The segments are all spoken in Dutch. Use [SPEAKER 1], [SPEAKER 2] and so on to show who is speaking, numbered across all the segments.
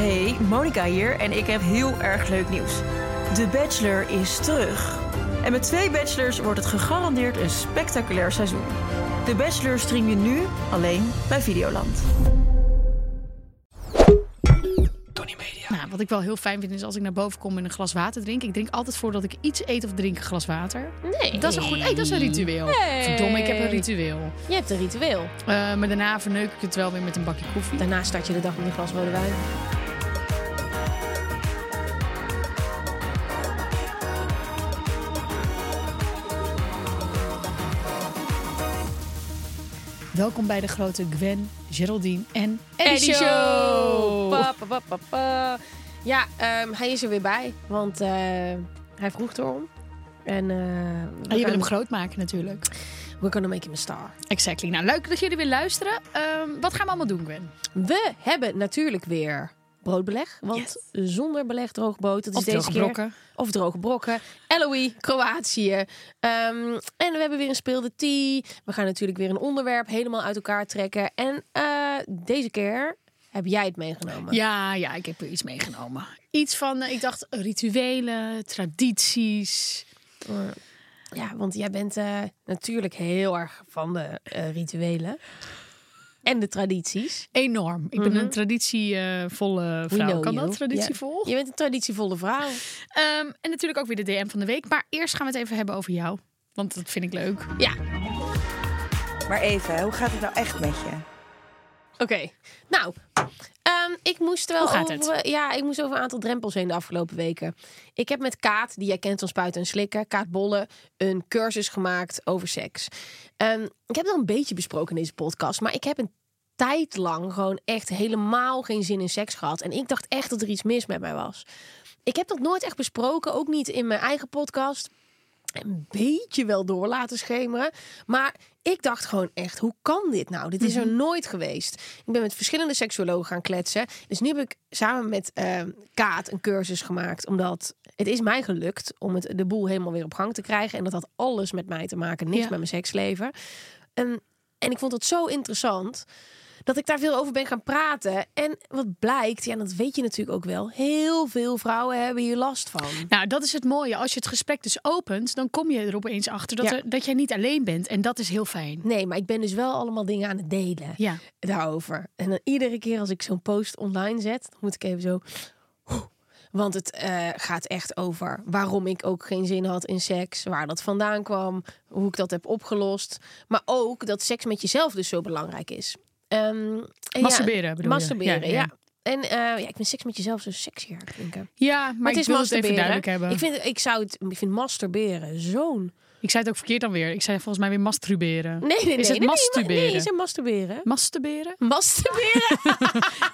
[SPEAKER 1] Hey, Monica hier en ik heb heel erg leuk nieuws. De Bachelor is terug. En met twee bachelors wordt het gegarandeerd een spectaculair seizoen. De Bachelor stream je nu alleen bij Videoland.
[SPEAKER 2] Nou, wat ik wel heel fijn vind is als ik naar boven kom en een glas water drink. Ik drink altijd voordat ik iets eet of drink een glas water.
[SPEAKER 3] Nee.
[SPEAKER 2] Dat is een goed. Hey, dat is een ritueel.
[SPEAKER 3] Hey.
[SPEAKER 2] Verdomme, ik heb een ritueel.
[SPEAKER 3] Je hebt een ritueel.
[SPEAKER 2] Eh, maar daarna verneuk ik het wel weer met een bakje koffie.
[SPEAKER 3] Daarna start je de dag met een glas rode wijn.
[SPEAKER 2] Welkom bij de grote Gwen, Geraldine en Eddie,
[SPEAKER 3] Eddie Show! Pa, pa, pa, pa, pa. Ja, ehm, hij is er weer bij, want eh, hij vroeg erom. En eh, we,
[SPEAKER 2] En Ah, je wil
[SPEAKER 3] kunnen-
[SPEAKER 2] hem groot maken natuurlijk.
[SPEAKER 3] we kunnen make him a star.
[SPEAKER 2] Exactly. Nou, leuk dat jullie weer luisteren. Ehm, wat gaan we allemaal doen, Gwen?
[SPEAKER 3] We hebben natuurlijk weer broodbeleg, want zonder beleg droog brood. Dat is
[SPEAKER 2] Of
[SPEAKER 3] deze
[SPEAKER 2] droge
[SPEAKER 3] keer.
[SPEAKER 2] brokken.
[SPEAKER 3] Of droge brokken. LOE, Kroatië. Ehm, en we hebben weer een speelde tea. We gaan natuurlijk weer een onderwerp helemaal uit elkaar trekken. En eh, deze keer heb jij het meegenomen.
[SPEAKER 2] Ja, ja, ik heb er iets meegenomen. Iets van, eh, ik dacht, rituelen, tradities.
[SPEAKER 3] Ja, want jij bent eh, natuurlijk heel erg van de eh, rituelen. En de tradities.
[SPEAKER 2] Enorm. Ik ben een traditievolle
[SPEAKER 3] We
[SPEAKER 2] vrouw.
[SPEAKER 3] know
[SPEAKER 2] Kan
[SPEAKER 3] you.
[SPEAKER 2] dat? Traditievol?
[SPEAKER 3] Ja. Je bent een traditievolle vrouw.
[SPEAKER 2] Ehm, en natuurlijk ook weer de DM van de week. Maar eerst gaan we het even hebben over jou. Want dat vind ik leuk.
[SPEAKER 3] Ja,
[SPEAKER 4] Maar even, hoe gaat het nou echt met je?
[SPEAKER 3] Oké. Nou, ehm, ik moest wel
[SPEAKER 2] Hoe gaat
[SPEAKER 3] over, Ja, ik moest over een aantal drempels heen de afgelopen weken. Ik heb met Kaat, die jij kent van Spuiten en Slikken, Kaat Bolle, een cursus gemaakt over seks. Ehm, ik heb dat een beetje besproken in deze podcast, maar ik heb een tijd lang gewoon echt helemaal geen zin in seks gehad. En ik dacht echt dat er iets mis met mij was. Ik heb dat nooit echt besproken, ook niet in mijn eigen podcast een beetje wel door laten schemeren. Maar ik dacht gewoon echt, hoe kan dit nou? Dit is er nooit geweest. Ik ben met verschillende seksuologen gaan kletsen. Dus nu heb ik samen met eh, Kaat een cursus gemaakt. Omdat het is mij gelukt om het, de boel helemaal weer op gang te krijgen. En dat had alles met mij te maken. Niks
[SPEAKER 2] Ja.
[SPEAKER 3] met mijn seksleven. En, en ik vond het zo interessant dat ik daar veel over ben gaan praten. En wat blijkt, ja, dat weet je natuurlijk ook wel. Heel veel vrouwen hebben hier last van.
[SPEAKER 2] Nou, dat is het mooie. Als je het gesprek dus opent, dan kom je er opeens achter dat,
[SPEAKER 3] Ja.
[SPEAKER 2] er- dat jij niet alleen bent. En dat is heel fijn.
[SPEAKER 3] Nee, maar ik ben dus wel allemaal dingen aan het delen
[SPEAKER 2] Ja.
[SPEAKER 3] daarover. En dan iedere keer als ik zo'n post online zet, dan moet ik even zo. Want het eh, gaat echt over waarom ik ook geen zin had in seks, waar dat vandaan kwam, hoe ik dat heb opgelost. Maar ook dat seks met jezelf dus zo belangrijk is. Ehm, en ja,
[SPEAKER 2] Masturberen bedoel je?
[SPEAKER 3] Masturberen,
[SPEAKER 2] Ja,
[SPEAKER 3] ja.
[SPEAKER 2] ja.
[SPEAKER 3] En eh, ja, ik vind seks met jezelf zo sexier klinken. Maar,
[SPEAKER 2] Ja, maar,
[SPEAKER 3] het
[SPEAKER 2] ik
[SPEAKER 3] is
[SPEAKER 2] wil het
[SPEAKER 3] masturberen.
[SPEAKER 2] even duidelijk hebben.
[SPEAKER 3] Ik vind, ik, zou het, ik vind masturberen zo'n...
[SPEAKER 2] Ik zei het ook verkeerd dan weer. Ik zei volgens mij weer masturberen.
[SPEAKER 3] Nee, nee, nee.
[SPEAKER 2] Is het
[SPEAKER 3] nee, nee,
[SPEAKER 2] masturberen?
[SPEAKER 3] Nee, is het masturberen.
[SPEAKER 2] Masturberen?
[SPEAKER 3] Masturberen.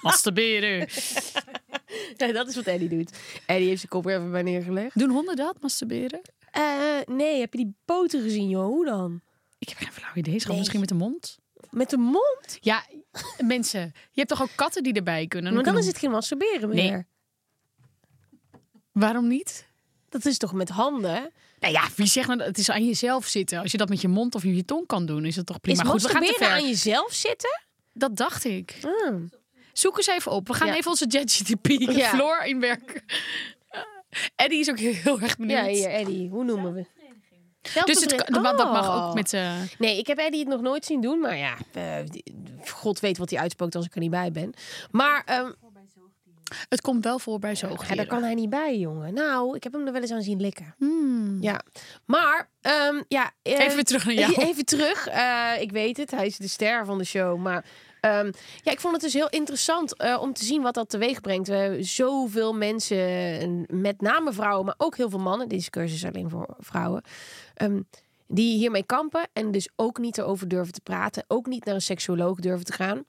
[SPEAKER 2] masturberen.
[SPEAKER 3] Nee, dat is wat Eddie doet. Eddie heeft zijn kop er even bij neergelegd.
[SPEAKER 2] Doen honden dat, masturberen?
[SPEAKER 3] Eh, nee, heb je die poten gezien, joh? Hoe dan?
[SPEAKER 2] Ik heb geen flauw idee. Schat,
[SPEAKER 3] Nee.
[SPEAKER 2] misschien met de mond?
[SPEAKER 3] Met de mond?
[SPEAKER 2] Ja, mensen. Je hebt toch ook katten die erbij kunnen?
[SPEAKER 3] Maar dan
[SPEAKER 2] kunnen
[SPEAKER 3] is het geen masturberen meer.
[SPEAKER 2] Nee. Waarom niet?
[SPEAKER 3] Dat is toch met handen?
[SPEAKER 2] Nou ja, wie zegt nou dat het is aan jezelf zitten? Als je dat met je mond of je tong kan doen, is het toch prima.
[SPEAKER 3] is
[SPEAKER 2] Goed, we gaan te
[SPEAKER 3] masturberen
[SPEAKER 2] ver.
[SPEAKER 3] aan jezelf zitten?
[SPEAKER 2] Dat dacht ik.
[SPEAKER 3] Hmm.
[SPEAKER 2] Zoek eens even op. We gaan
[SPEAKER 3] Ja.
[SPEAKER 2] even onze ChatGTP
[SPEAKER 3] Ja.
[SPEAKER 2] floor inwerken. Eddie is ook heel erg benieuwd.
[SPEAKER 3] Ja, hier, Eddie. Hoe noemen we?
[SPEAKER 2] Dus het, kan-
[SPEAKER 3] Zelfbevrediging.
[SPEAKER 2] dat dat mag
[SPEAKER 3] Oh.
[SPEAKER 2] ook met... eh,
[SPEAKER 3] Nee, ik heb Eddie het nog nooit zien doen, maar ja, eh, die- God weet wat hij uitspookt als ik er niet bij ben. Maar ehm,
[SPEAKER 2] het komt wel voor bij
[SPEAKER 3] ja,
[SPEAKER 2] zoogdieren.
[SPEAKER 3] daar kan hij niet bij, jongen. Nou, ik heb hem er wel eens aan zien likken.
[SPEAKER 2] Hmm.
[SPEAKER 3] Ja, maar ehm, ja. eh,
[SPEAKER 2] Even weer terug naar jou.
[SPEAKER 3] Even terug. Eh, ik weet het, hij is de ster van de show. Maar ehm, ja, ik vond het dus heel interessant eh, om te zien wat dat teweeg brengt. We zoveel mensen, met name vrouwen, maar ook heel veel mannen. Deze cursus is alleen voor vrouwen. ehm, die hiermee kampen en dus ook niet erover durven te praten, ook niet naar een seksuoloog durven te gaan.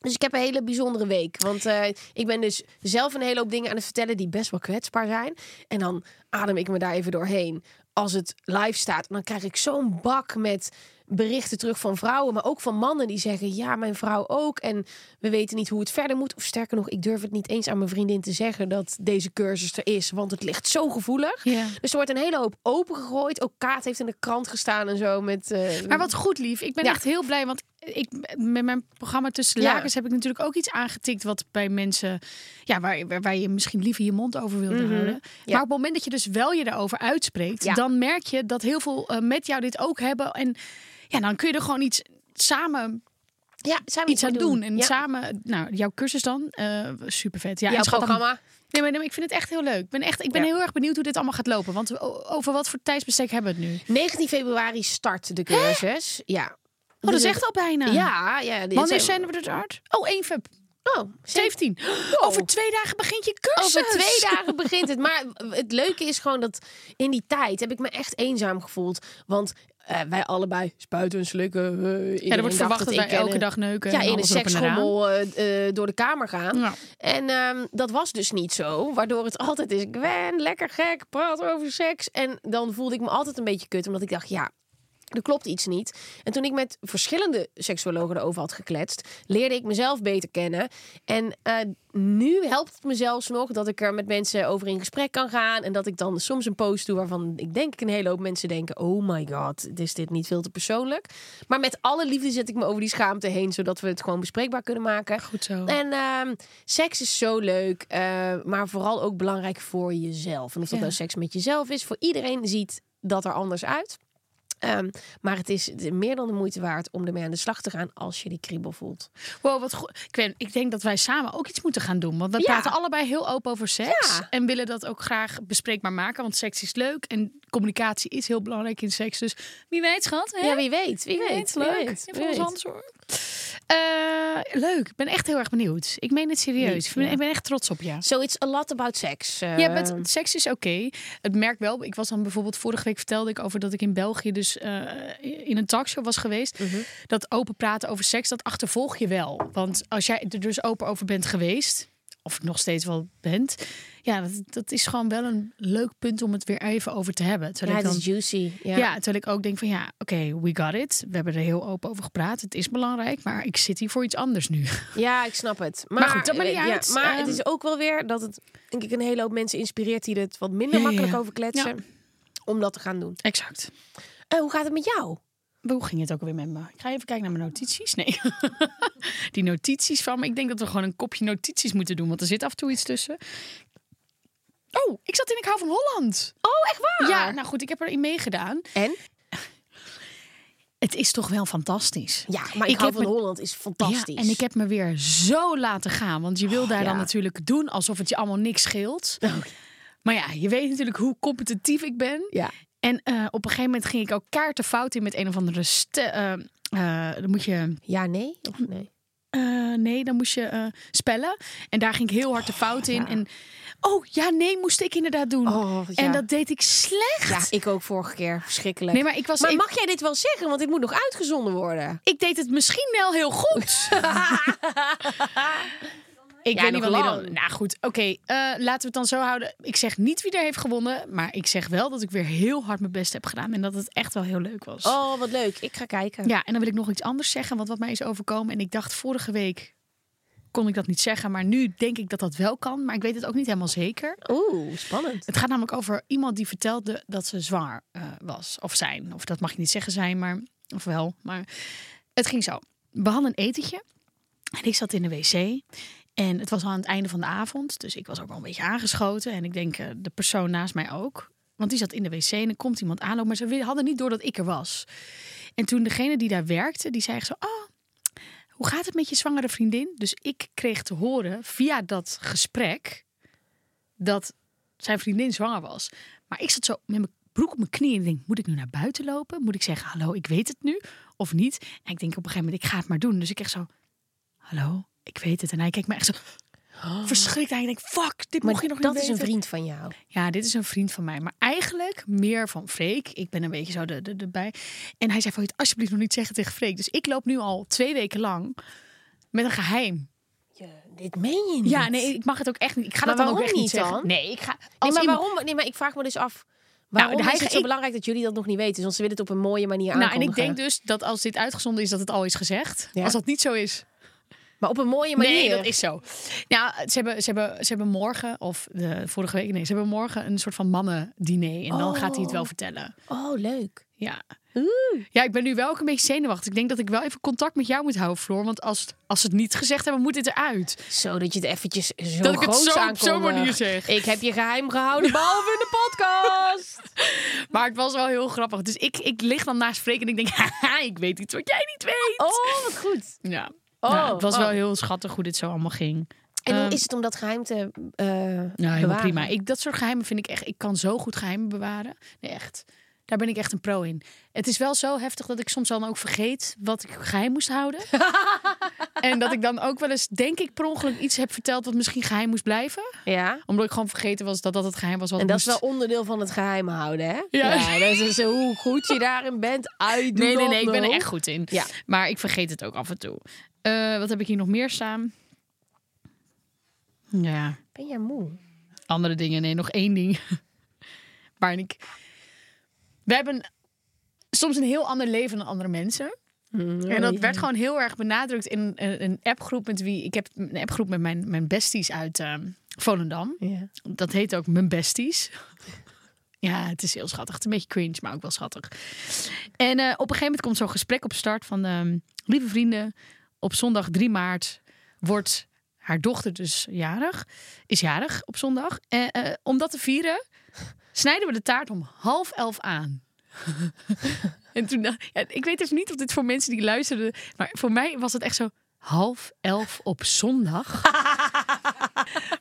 [SPEAKER 3] Dus ik heb een hele bijzondere week. Want eh, ik ben dus zelf een hele hoop dingen aan het vertellen die best wel kwetsbaar zijn. En dan adem ik me daar even doorheen als het live staat. En dan krijg ik zo'n bak met berichten terug van vrouwen, maar ook van mannen die zeggen: Ja, mijn vrouw ook. En we weten niet hoe het verder moet. Of sterker nog, ik durf het niet eens aan mijn vriendin te zeggen dat deze cursus er is, want het ligt zo gevoelig.
[SPEAKER 2] Ja.
[SPEAKER 3] Dus er wordt een hele hoop opengegooid. Ook Kaat heeft in de krant gestaan en zo. Met, eh,
[SPEAKER 2] Maar wat goed, lief. Ik ben
[SPEAKER 3] Ja.
[SPEAKER 2] echt heel blij, want ik, met mijn programma Tussen de
[SPEAKER 3] Ja.
[SPEAKER 2] Lakens heb ik natuurlijk ook iets aangetikt wat bij mensen, ja, waar, waar, waar je misschien liever je mond over wilde houden. Maar op het moment dat je dus wel je daarover uitspreekt,
[SPEAKER 3] Ja.
[SPEAKER 2] dan merk je dat heel veel eh, met jou dit ook hebben. En ja, dan kun je er gewoon iets samen
[SPEAKER 3] ja, zijn we
[SPEAKER 2] iets aan
[SPEAKER 3] mee
[SPEAKER 2] doen. En
[SPEAKER 3] Ja.
[SPEAKER 2] samen, nou, jouw cursus dan, eh, super vet. Ja,
[SPEAKER 3] Jouw
[SPEAKER 2] en schat, dan-
[SPEAKER 3] programma.
[SPEAKER 2] Nee, maar, nee, maar ik vind het echt heel leuk. Ik ben, echt, ik ben heel erg benieuwd hoe dit allemaal gaat lopen. Want eh, o- over wat voor tijdsbestek hebben we het nu? Oh,
[SPEAKER 3] 19 februari start de cursus. Ja.
[SPEAKER 2] Oh, dat is echt al bijna.
[SPEAKER 3] Ja, ja. dit
[SPEAKER 2] Wanneer zijn we eruit? Oh, 1 feb.
[SPEAKER 3] Oh,
[SPEAKER 2] 17. Over twee dagen begint je cursus.
[SPEAKER 3] Over twee dagen begint het. Maar het leuke is gewoon dat in die tijd heb ik me echt eenzaam gevoeld. Want eh, wij allebei spuiten en slikken. eh,
[SPEAKER 2] Ja, er wordt verwacht dat wij elke dag neuken.
[SPEAKER 3] Ja,
[SPEAKER 2] en
[SPEAKER 3] in een
[SPEAKER 2] alles erop en eraan.
[SPEAKER 3] seksschommel eh, eh, door de kamer gaan.
[SPEAKER 2] Ja.
[SPEAKER 3] En ehm, dat was dus niet zo. Waardoor het altijd is, Gwen, lekker gek, praat over seks. En dan voelde ik me altijd een beetje kut. Omdat ik dacht, ja, er klopt iets niet. En toen ik met verschillende seksuologen erover had gekletst... leerde ik mezelf beter kennen. En eh, nu helpt het me zelfs nog dat ik er met mensen over in gesprek kan gaan. En dat ik dan soms een post doe waarvan ik denk ik een hele hoop mensen denken... oh my god, is dit niet veel te persoonlijk? Maar met alle liefde zet ik me over die schaamte heen... zodat we het gewoon bespreekbaar kunnen maken.
[SPEAKER 2] Goed zo.
[SPEAKER 3] En ehm, seks is zo leuk, eh, maar vooral ook belangrijk voor jezelf. En of dat
[SPEAKER 2] Ja.
[SPEAKER 3] nou seks met jezelf is, voor iedereen ziet dat er anders uit. Ehm, maar het is de- meer dan de moeite waard om ermee aan de slag te gaan als je die kriebel voelt.
[SPEAKER 2] Wow, wat goed. Ik, weet- ik denk dat wij samen ook iets moeten gaan doen. Want we
[SPEAKER 3] Ja.
[SPEAKER 2] praten allebei heel open over seks.
[SPEAKER 3] Ja.
[SPEAKER 2] En willen dat ook graag bespreekbaar maken. Want seks is leuk. En communicatie is heel belangrijk in seks. Dus wie weet, schat. Hè?
[SPEAKER 3] Ja, wie weet, wie weet. wie
[SPEAKER 2] leuk.
[SPEAKER 3] weet,
[SPEAKER 2] Even
[SPEAKER 3] wie
[SPEAKER 2] ons
[SPEAKER 3] weet.
[SPEAKER 2] anders hoor. Eh, leuk. Ik ben echt heel erg benieuwd. Ik meen het serieus. Ik ben, ik ben echt trots op jou.
[SPEAKER 3] So it's a lot about sex. eh.
[SPEAKER 2] Ja, maar het- seks is oké. Het merk wel. Ik was dan bijvoorbeeld vorige week vertelde ik over dat ik in België dus eh, in een talkshow was geweest. Dat open praten over seks, dat achtervolg je wel. Want als jij er dus open over bent geweest, of nog steeds wel bent, ja, dat, dat is gewoon wel een leuk punt om het weer even over te hebben.
[SPEAKER 3] ja,
[SPEAKER 2] Terwijl ik
[SPEAKER 3] het
[SPEAKER 2] dan,
[SPEAKER 3] is juicy. Ja.
[SPEAKER 2] ja, terwijl ik ook denk van ja, oké, we got it. We hebben er heel open over gepraat. Het is belangrijk, maar ik zit hier voor iets anders nu.
[SPEAKER 3] Ja, ik snap het. Maar,
[SPEAKER 2] goed, dat maakt niet
[SPEAKER 3] ja,
[SPEAKER 2] uit.
[SPEAKER 3] maar
[SPEAKER 2] Ehm.
[SPEAKER 3] het is ook wel weer dat het denk ik een hele hoop mensen inspireert die er het wat minder
[SPEAKER 2] Ja, ja,
[SPEAKER 3] makkelijk
[SPEAKER 2] ja.
[SPEAKER 3] over kletsen. Om dat te gaan doen.
[SPEAKER 2] Exact.
[SPEAKER 3] Eh, hoe gaat het met jou?
[SPEAKER 2] Hoe ging het ook alweer met me? Ik ga even kijken naar mijn notities. Nee. Die notities van me. Ik denk dat we gewoon een kopje notities moeten doen. Want er zit af en toe iets tussen. Oh, ik zat in Ik hou van Holland.
[SPEAKER 3] Oh, echt waar?
[SPEAKER 2] Ja, nou goed. Ik heb erin meegedaan.
[SPEAKER 3] En?
[SPEAKER 2] Het is toch wel fantastisch.
[SPEAKER 3] Ja, maar ik,
[SPEAKER 2] Ik
[SPEAKER 3] hou
[SPEAKER 2] heb
[SPEAKER 3] van
[SPEAKER 2] me-
[SPEAKER 3] Holland is fantastisch. Oh,
[SPEAKER 2] Ja, en ik heb me weer zo laten gaan. Want je wil daar
[SPEAKER 3] ja. Oh,
[SPEAKER 2] dan natuurlijk doen alsof het je allemaal niks scheelt. Maar ja, je weet natuurlijk hoe competitief ik ben.
[SPEAKER 3] Ja.
[SPEAKER 2] En eh, op een gegeven moment ging ik ook kaarten fout in met een of andere... ste- eh, eh, dan moet je...
[SPEAKER 3] Ja, nee? Of nee?
[SPEAKER 2] Eh, nee, dan moest je eh, spellen. En daar ging ik heel hard de fout in. En oh ja, nee, moest ik inderdaad doen.
[SPEAKER 3] Oh, ja.
[SPEAKER 2] En dat deed ik slecht.
[SPEAKER 3] Ja, ik ook vorige keer. Verschrikkelijk.
[SPEAKER 2] Nee, maar ik was.
[SPEAKER 3] Maar
[SPEAKER 2] ik,
[SPEAKER 3] mag jij dit wel zeggen? Want dit moet nog uitgezonden worden.
[SPEAKER 2] ik deed het misschien wel heel goed. ik
[SPEAKER 3] Ja,
[SPEAKER 2] weet
[SPEAKER 3] nog
[SPEAKER 2] niet wanneer
[SPEAKER 3] lang.
[SPEAKER 2] dan. Nou goed, oké. eh, laten we het dan zo houden. Ik zeg niet wie er heeft gewonnen. Maar ik zeg wel dat ik weer heel hard mijn best heb gedaan. En dat het echt wel heel leuk was.
[SPEAKER 3] Oh, wat leuk. Ik ga kijken.
[SPEAKER 2] Ja, en dan wil ik nog iets anders zeggen, want wat mij is overkomen. En ik dacht vorige week kon ik dat niet zeggen, maar nu denk ik dat dat wel kan. Maar ik weet het ook niet helemaal zeker.
[SPEAKER 3] Oeh, spannend.
[SPEAKER 2] Het gaat namelijk over iemand die vertelde dat ze zwaar eh, was of zijn. Of dat mag je niet zeggen zijn, maar of wel. Maar het ging zo. We hadden een etentje en ik zat in de wc. En het was al aan het einde van de avond, dus ik was ook wel een beetje aangeschoten. En ik denk eh, de persoon naast mij ook. Want die zat in de wc en er komt iemand aanlopen, maar ze wi- hadden niet door dat ik er was. En toen degene die daar werkte, die zei echt zo... Oh, hoe gaat het met je zwangere vriendin? Dus ik kreeg te horen via dat gesprek dat zijn vriendin zwanger was. Maar ik zat zo met mijn broek op mijn knieën en ik denk, moet ik nu naar buiten lopen? Moet ik zeggen, hallo, ik weet het nu of niet? En ik denk op een gegeven moment, ik ga het maar doen. Dus ik echt zo, hallo, ik weet het. En hij kijkt me echt zo, Verschrikt aan. Je denkt, fuck, dit
[SPEAKER 3] Maar
[SPEAKER 2] mocht je nog
[SPEAKER 3] dat
[SPEAKER 2] niet
[SPEAKER 3] is een
[SPEAKER 2] weten.
[SPEAKER 3] vriend van jou.
[SPEAKER 2] Ja, dit is een vriend van mij. Maar eigenlijk meer van Freek. Ik ben een beetje zo de, de, de bij. En hij zei, wil je het alsjeblieft nog niet zeggen tegen Freek? Dus ik loop nu al twee weken lang met een geheim.
[SPEAKER 3] dit meen je niet.
[SPEAKER 2] Ja, nee, ik mag het ook echt niet. Ik ga
[SPEAKER 3] Maar
[SPEAKER 2] dat dan ook
[SPEAKER 3] waarom
[SPEAKER 2] echt niet,
[SPEAKER 3] niet
[SPEAKER 2] zeggen.
[SPEAKER 3] dan?
[SPEAKER 2] Nee, ik ga...
[SPEAKER 3] Nee,
[SPEAKER 2] Als
[SPEAKER 3] maar
[SPEAKER 2] iemand-
[SPEAKER 3] waarom? Nee, maar ik vraag me dus af. Waarom
[SPEAKER 2] Nou, hij
[SPEAKER 3] is
[SPEAKER 2] ge-
[SPEAKER 3] het zo
[SPEAKER 2] ik-
[SPEAKER 3] belangrijk dat jullie dat nog niet weten? Want ze willen het op een mooie manier
[SPEAKER 2] Nou, en
[SPEAKER 3] aankondigen.
[SPEAKER 2] ik denk dus dat als dit uitgezonden is, dat het al is gezegd.
[SPEAKER 3] Ja.
[SPEAKER 2] Als dat niet zo is,
[SPEAKER 3] Maar op een mooie manier.
[SPEAKER 2] Nee, dat is zo. Ja, ze hebben, ze hebben, ze hebben morgen, of de vorige week, nee, ze hebben morgen een soort van mannen-diner. En dan gaat hij het wel vertellen.
[SPEAKER 3] Oh, leuk.
[SPEAKER 2] Ja. ja, ik ben nu wel ook een beetje zenuwachtig. Ik denk dat ik wel even contact met jou moet houden, Floor. Want als, het- als ze het niet gezegd hebben, moet dit eruit.
[SPEAKER 3] Zo dat je het eventjes zo
[SPEAKER 2] Dat ik het
[SPEAKER 3] groots
[SPEAKER 2] zo op zo'n
[SPEAKER 3] aankondigt.
[SPEAKER 2] manier zeg.
[SPEAKER 3] Ik heb je geheim gehouden, behalve in de podcast.
[SPEAKER 2] Maar het was wel heel grappig. Dus ik, ik lig dan naast Freek en ik denk, haha, ik weet iets wat jij niet weet.
[SPEAKER 3] Oh, wat goed.
[SPEAKER 2] Ja.
[SPEAKER 3] Oh,
[SPEAKER 2] Nou, het was
[SPEAKER 3] oh.
[SPEAKER 2] wel heel schattig hoe dit zo allemaal ging.
[SPEAKER 3] En
[SPEAKER 2] Ehm,
[SPEAKER 3] hoe is het om dat geheim te eh
[SPEAKER 2] Nou, helemaal
[SPEAKER 3] bewaren?
[SPEAKER 2] prima. Ik, dat soort geheimen vind ik echt. Ik kan zo goed geheimen bewaren. Nee, echt. Daar ben ik echt een pro in. Het is wel zo heftig dat ik soms dan ook vergeet wat ik geheim moest houden. en dat ik dan ook wel eens, denk ik, per ongeluk iets heb verteld wat misschien geheim moest blijven.
[SPEAKER 3] Ja.
[SPEAKER 2] Omdat ik gewoon vergeten was dat dat het geheim was. Wat
[SPEAKER 3] En dat is wel
[SPEAKER 2] moest.
[SPEAKER 3] onderdeel van het geheim houden, hè?
[SPEAKER 2] Ja.
[SPEAKER 3] dat is dus zo hoe goed je daarin bent. I do
[SPEAKER 2] Nee, nee,
[SPEAKER 3] not
[SPEAKER 2] nee. Ik ben er
[SPEAKER 3] know.
[SPEAKER 2] echt goed in.
[SPEAKER 3] Ja.
[SPEAKER 2] Maar ik vergeet het ook af en toe. Eh, wat heb ik hier nog meer staan? Ja.
[SPEAKER 3] Ben jij moe?
[SPEAKER 2] andere dingen. Nee, nog één ding. Waarin ik. We hebben soms een heel ander leven dan andere mensen. En dat werd gewoon heel erg benadrukt in een, een appgroep met wie. Ik heb een appgroep met mijn, mijn besties uit eh, Volendam.
[SPEAKER 3] Ja.
[SPEAKER 2] Dat heet ook Mijn Besties. Ja, het is heel schattig. Het is een beetje cringe, maar ook wel schattig. En eh, op een gegeven moment komt zo'n gesprek op start van... ehm, lieve vrienden, op zondag 3 maart wordt haar dochter dus jarig. Is jarig op zondag. Eh, eh, om dat te vieren snijden we de taart om half elf aan. en toen dacht ja, ik weet even niet of dit voor mensen die luisterden... maar voor mij was het echt zo... half elf op zondag?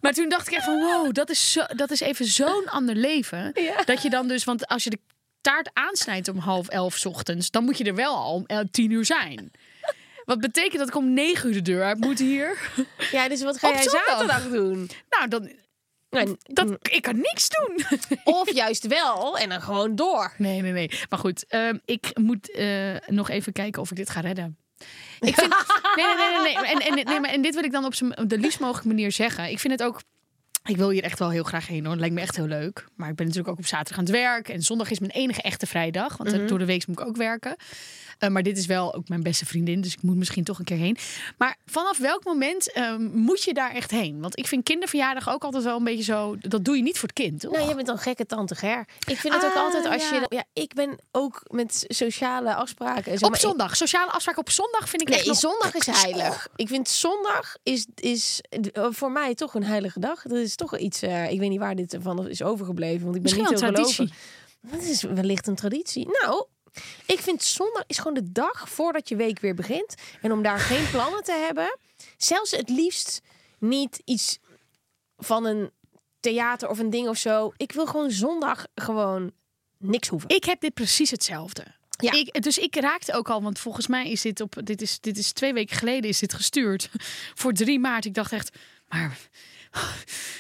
[SPEAKER 2] Maar toen dacht ik echt van wow, dat is, zo, dat is even zo'n ander leven. Dat je dan dus, want als je de taart aansnijdt om half elf 's ochtends, dan moet je er wel al om el- tien uur zijn. Wat betekent dat ik om negen uur de deur uit moet hier?
[SPEAKER 3] Ja, dus wat ga
[SPEAKER 2] Op
[SPEAKER 3] jij
[SPEAKER 2] zondag.
[SPEAKER 3] zaterdag doen?
[SPEAKER 2] Nou, dan,
[SPEAKER 3] Nou,
[SPEAKER 2] dat, ik kan niks doen.
[SPEAKER 3] Of juist wel en dan gewoon door.
[SPEAKER 2] Nee, nee, nee. Maar goed, ehm, ik moet eh, nog even kijken of ik dit ga redden. Ik vind, nee, nee, nee, nee, nee. En, en, nee maar, en dit wil ik dan op, z'n- op de liefst mogelijke manier zeggen. Ik vind het ook. Ik wil hier echt wel heel graag heen hoor. Het lijkt me echt heel leuk. Maar ik ben natuurlijk ook op zaterdag aan het werk. En zondag is mijn enige echte vrijdag. Want eh,
[SPEAKER 3] Mhm.
[SPEAKER 2] door de week moet ik ook werken. Eh, maar dit is wel ook mijn beste vriendin. Dus ik moet misschien toch een keer heen. Maar vanaf welk moment ehm, moet je daar echt heen? Want ik vind kinderverjaardag ook altijd wel een beetje zo. Dat doe je niet voor het kind. Toch?
[SPEAKER 3] Nou, je bent dan gekke tante Ger. Ik vind het ook
[SPEAKER 2] Ah,
[SPEAKER 3] altijd als
[SPEAKER 2] ja.
[SPEAKER 3] je... Ja, ik ben ook met sociale afspraken. en zo,
[SPEAKER 2] op
[SPEAKER 3] maar ik-
[SPEAKER 2] zondag. Sociale afspraak op zondag vind ik
[SPEAKER 3] Nee,
[SPEAKER 2] echt nog- Oh.
[SPEAKER 3] zondag is heilig. Ik vind zondag is, is eh, voor mij toch een heilige dag. Dat is toch iets... eh, ik weet niet waar dit van is overgebleven. Want ik ben
[SPEAKER 2] Misschien
[SPEAKER 3] niet
[SPEAKER 2] wel
[SPEAKER 3] heel
[SPEAKER 2] een
[SPEAKER 3] gelovig. Dat is wellicht een traditie. Nou... Ik vind zondag is gewoon de dag voordat je week weer begint. En om daar geen plannen te hebben. Zelfs het liefst niet iets van een theater of een ding of zo. Ik wil gewoon zondag gewoon niks hoeven.
[SPEAKER 2] Ik heb dit precies hetzelfde.
[SPEAKER 3] Ja.
[SPEAKER 2] Ik, dus ik raakte ook al, want volgens mij is dit op. Dit is, dit is twee weken geleden is dit gestuurd. Voor 3 maart. Ik dacht echt, maar.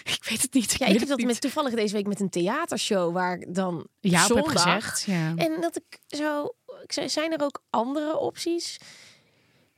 [SPEAKER 2] Ik weet het niet.
[SPEAKER 3] Ja,
[SPEAKER 2] wil
[SPEAKER 3] ik heb
[SPEAKER 2] het
[SPEAKER 3] dat
[SPEAKER 2] niet.
[SPEAKER 3] met, toevallig deze week met een theatershow waar ik dan
[SPEAKER 2] Ja, op heb
[SPEAKER 3] zondag...
[SPEAKER 2] gezegd. Ja. Nou,
[SPEAKER 3] En dat ik zo... ik zei, Zijn er ook andere opties?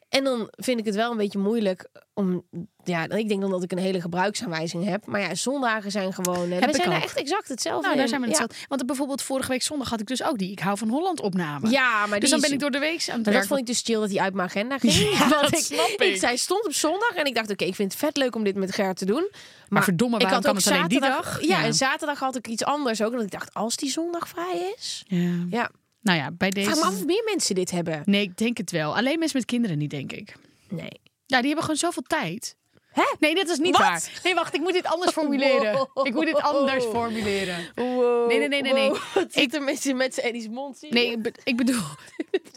[SPEAKER 3] En dan vind ik het wel een beetje moeilijk om... Ja, ik denk dan dat ik een hele gebruiksaanwijzing heb. Maar ja, zondagen zijn gewoon... eh,
[SPEAKER 2] Heb
[SPEAKER 3] we
[SPEAKER 2] ik
[SPEAKER 3] zijn daar
[SPEAKER 2] ook.
[SPEAKER 3] echt exact hetzelfde
[SPEAKER 2] Nou, daar
[SPEAKER 3] in.
[SPEAKER 2] zijn we
[SPEAKER 3] ja.
[SPEAKER 2] hetzelfde. Want bijvoorbeeld vorige week zondag had ik dus ook die Ik hou van Holland opname.
[SPEAKER 3] Ja,
[SPEAKER 2] dus
[SPEAKER 3] maar die
[SPEAKER 2] dan ben
[SPEAKER 3] is-
[SPEAKER 2] ik door de week aan het
[SPEAKER 3] Maar
[SPEAKER 2] werk.
[SPEAKER 3] dat vond ik dus chill dat hij uit mijn agenda ging.
[SPEAKER 2] Ja,
[SPEAKER 3] Want
[SPEAKER 2] dat
[SPEAKER 3] ik,
[SPEAKER 2] snap ik.
[SPEAKER 3] ik. Zij stond op zondag en ik dacht, oké, ik vind het vet leuk om dit met Ger te doen. Maar,
[SPEAKER 2] verdomme,
[SPEAKER 3] ik
[SPEAKER 2] waarom
[SPEAKER 3] had
[SPEAKER 2] kan
[SPEAKER 3] ook
[SPEAKER 2] het alleen die
[SPEAKER 3] zaterdag-
[SPEAKER 2] dag?
[SPEAKER 3] Ja,
[SPEAKER 2] Ja.
[SPEAKER 3] en zaterdag had ik iets anders ook. Dat ik dacht, als die zondag vrij is...
[SPEAKER 2] Ja.
[SPEAKER 3] Ja,
[SPEAKER 2] Nou ja, bij
[SPEAKER 3] vraag me af
[SPEAKER 2] deze.
[SPEAKER 3] of meer mensen dit hebben.
[SPEAKER 2] Nee, ik denk het wel. Alleen mensen met kinderen niet, denk ik.
[SPEAKER 3] Nee.
[SPEAKER 2] Ja, die hebben gewoon zoveel tijd.
[SPEAKER 3] Hè?
[SPEAKER 2] Nee, dat is niet
[SPEAKER 3] Wat?
[SPEAKER 2] waar. Nee, wacht, ik moet dit anders formuleren. Ik moet dit anders formuleren. Nee, nee, nee, nee, nee.
[SPEAKER 3] Ik de mensen met zijn Eddie's mond zien.
[SPEAKER 2] Nee, ik be- ik bedoel.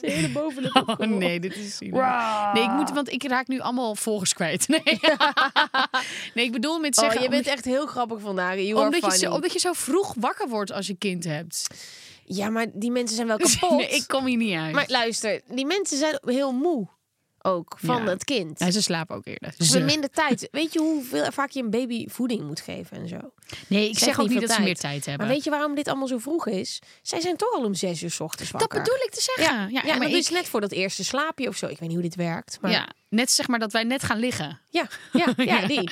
[SPEAKER 3] de hele bovenlip.
[SPEAKER 2] Oh nee, dit is zielig. Nee, ik moet, want ik raak nu allemaal volgers kwijt. Nee, nee ik bedoel met zeggen.
[SPEAKER 3] oh, je bent
[SPEAKER 2] omdat-
[SPEAKER 3] echt heel grappig vandaag. You are
[SPEAKER 2] omdat, je
[SPEAKER 3] funny.
[SPEAKER 2] zo, omdat je zo vroeg wakker wordt als je kind hebt.
[SPEAKER 3] Ja, maar die mensen zijn wel kapot.
[SPEAKER 2] Nee, ik kom hier niet uit.
[SPEAKER 3] Maar luister, die mensen zijn heel moe. ook van
[SPEAKER 2] Ja.
[SPEAKER 3] het kind.
[SPEAKER 2] Ja, ze slapen ook eerder.
[SPEAKER 3] Ze hebben minder tijd. Weet je hoeveel vaak je een baby voeding moet geven en zo?
[SPEAKER 2] Nee, ik
[SPEAKER 3] Ze
[SPEAKER 2] zeg
[SPEAKER 3] heeft
[SPEAKER 2] ook niet
[SPEAKER 3] niet
[SPEAKER 2] dat
[SPEAKER 3] veel
[SPEAKER 2] ze meer
[SPEAKER 3] tijd.
[SPEAKER 2] tijd hebben.
[SPEAKER 3] Maar weet je waarom dit allemaal zo vroeg is? Zij zijn toch al om zes uur 's ochtends
[SPEAKER 2] dat
[SPEAKER 3] wakker.
[SPEAKER 2] bedoel ik te zeggen. Ja,
[SPEAKER 3] Ja, ja,
[SPEAKER 2] en
[SPEAKER 3] maar
[SPEAKER 2] maar
[SPEAKER 3] dat
[SPEAKER 2] ik,
[SPEAKER 3] is net voor dat eerste slaapje of zo. Ik weet niet hoe dit werkt. Maar ja,
[SPEAKER 2] ja, net zeg maar dat wij net gaan liggen.
[SPEAKER 3] ja, ja,
[SPEAKER 2] Ja.
[SPEAKER 3] die.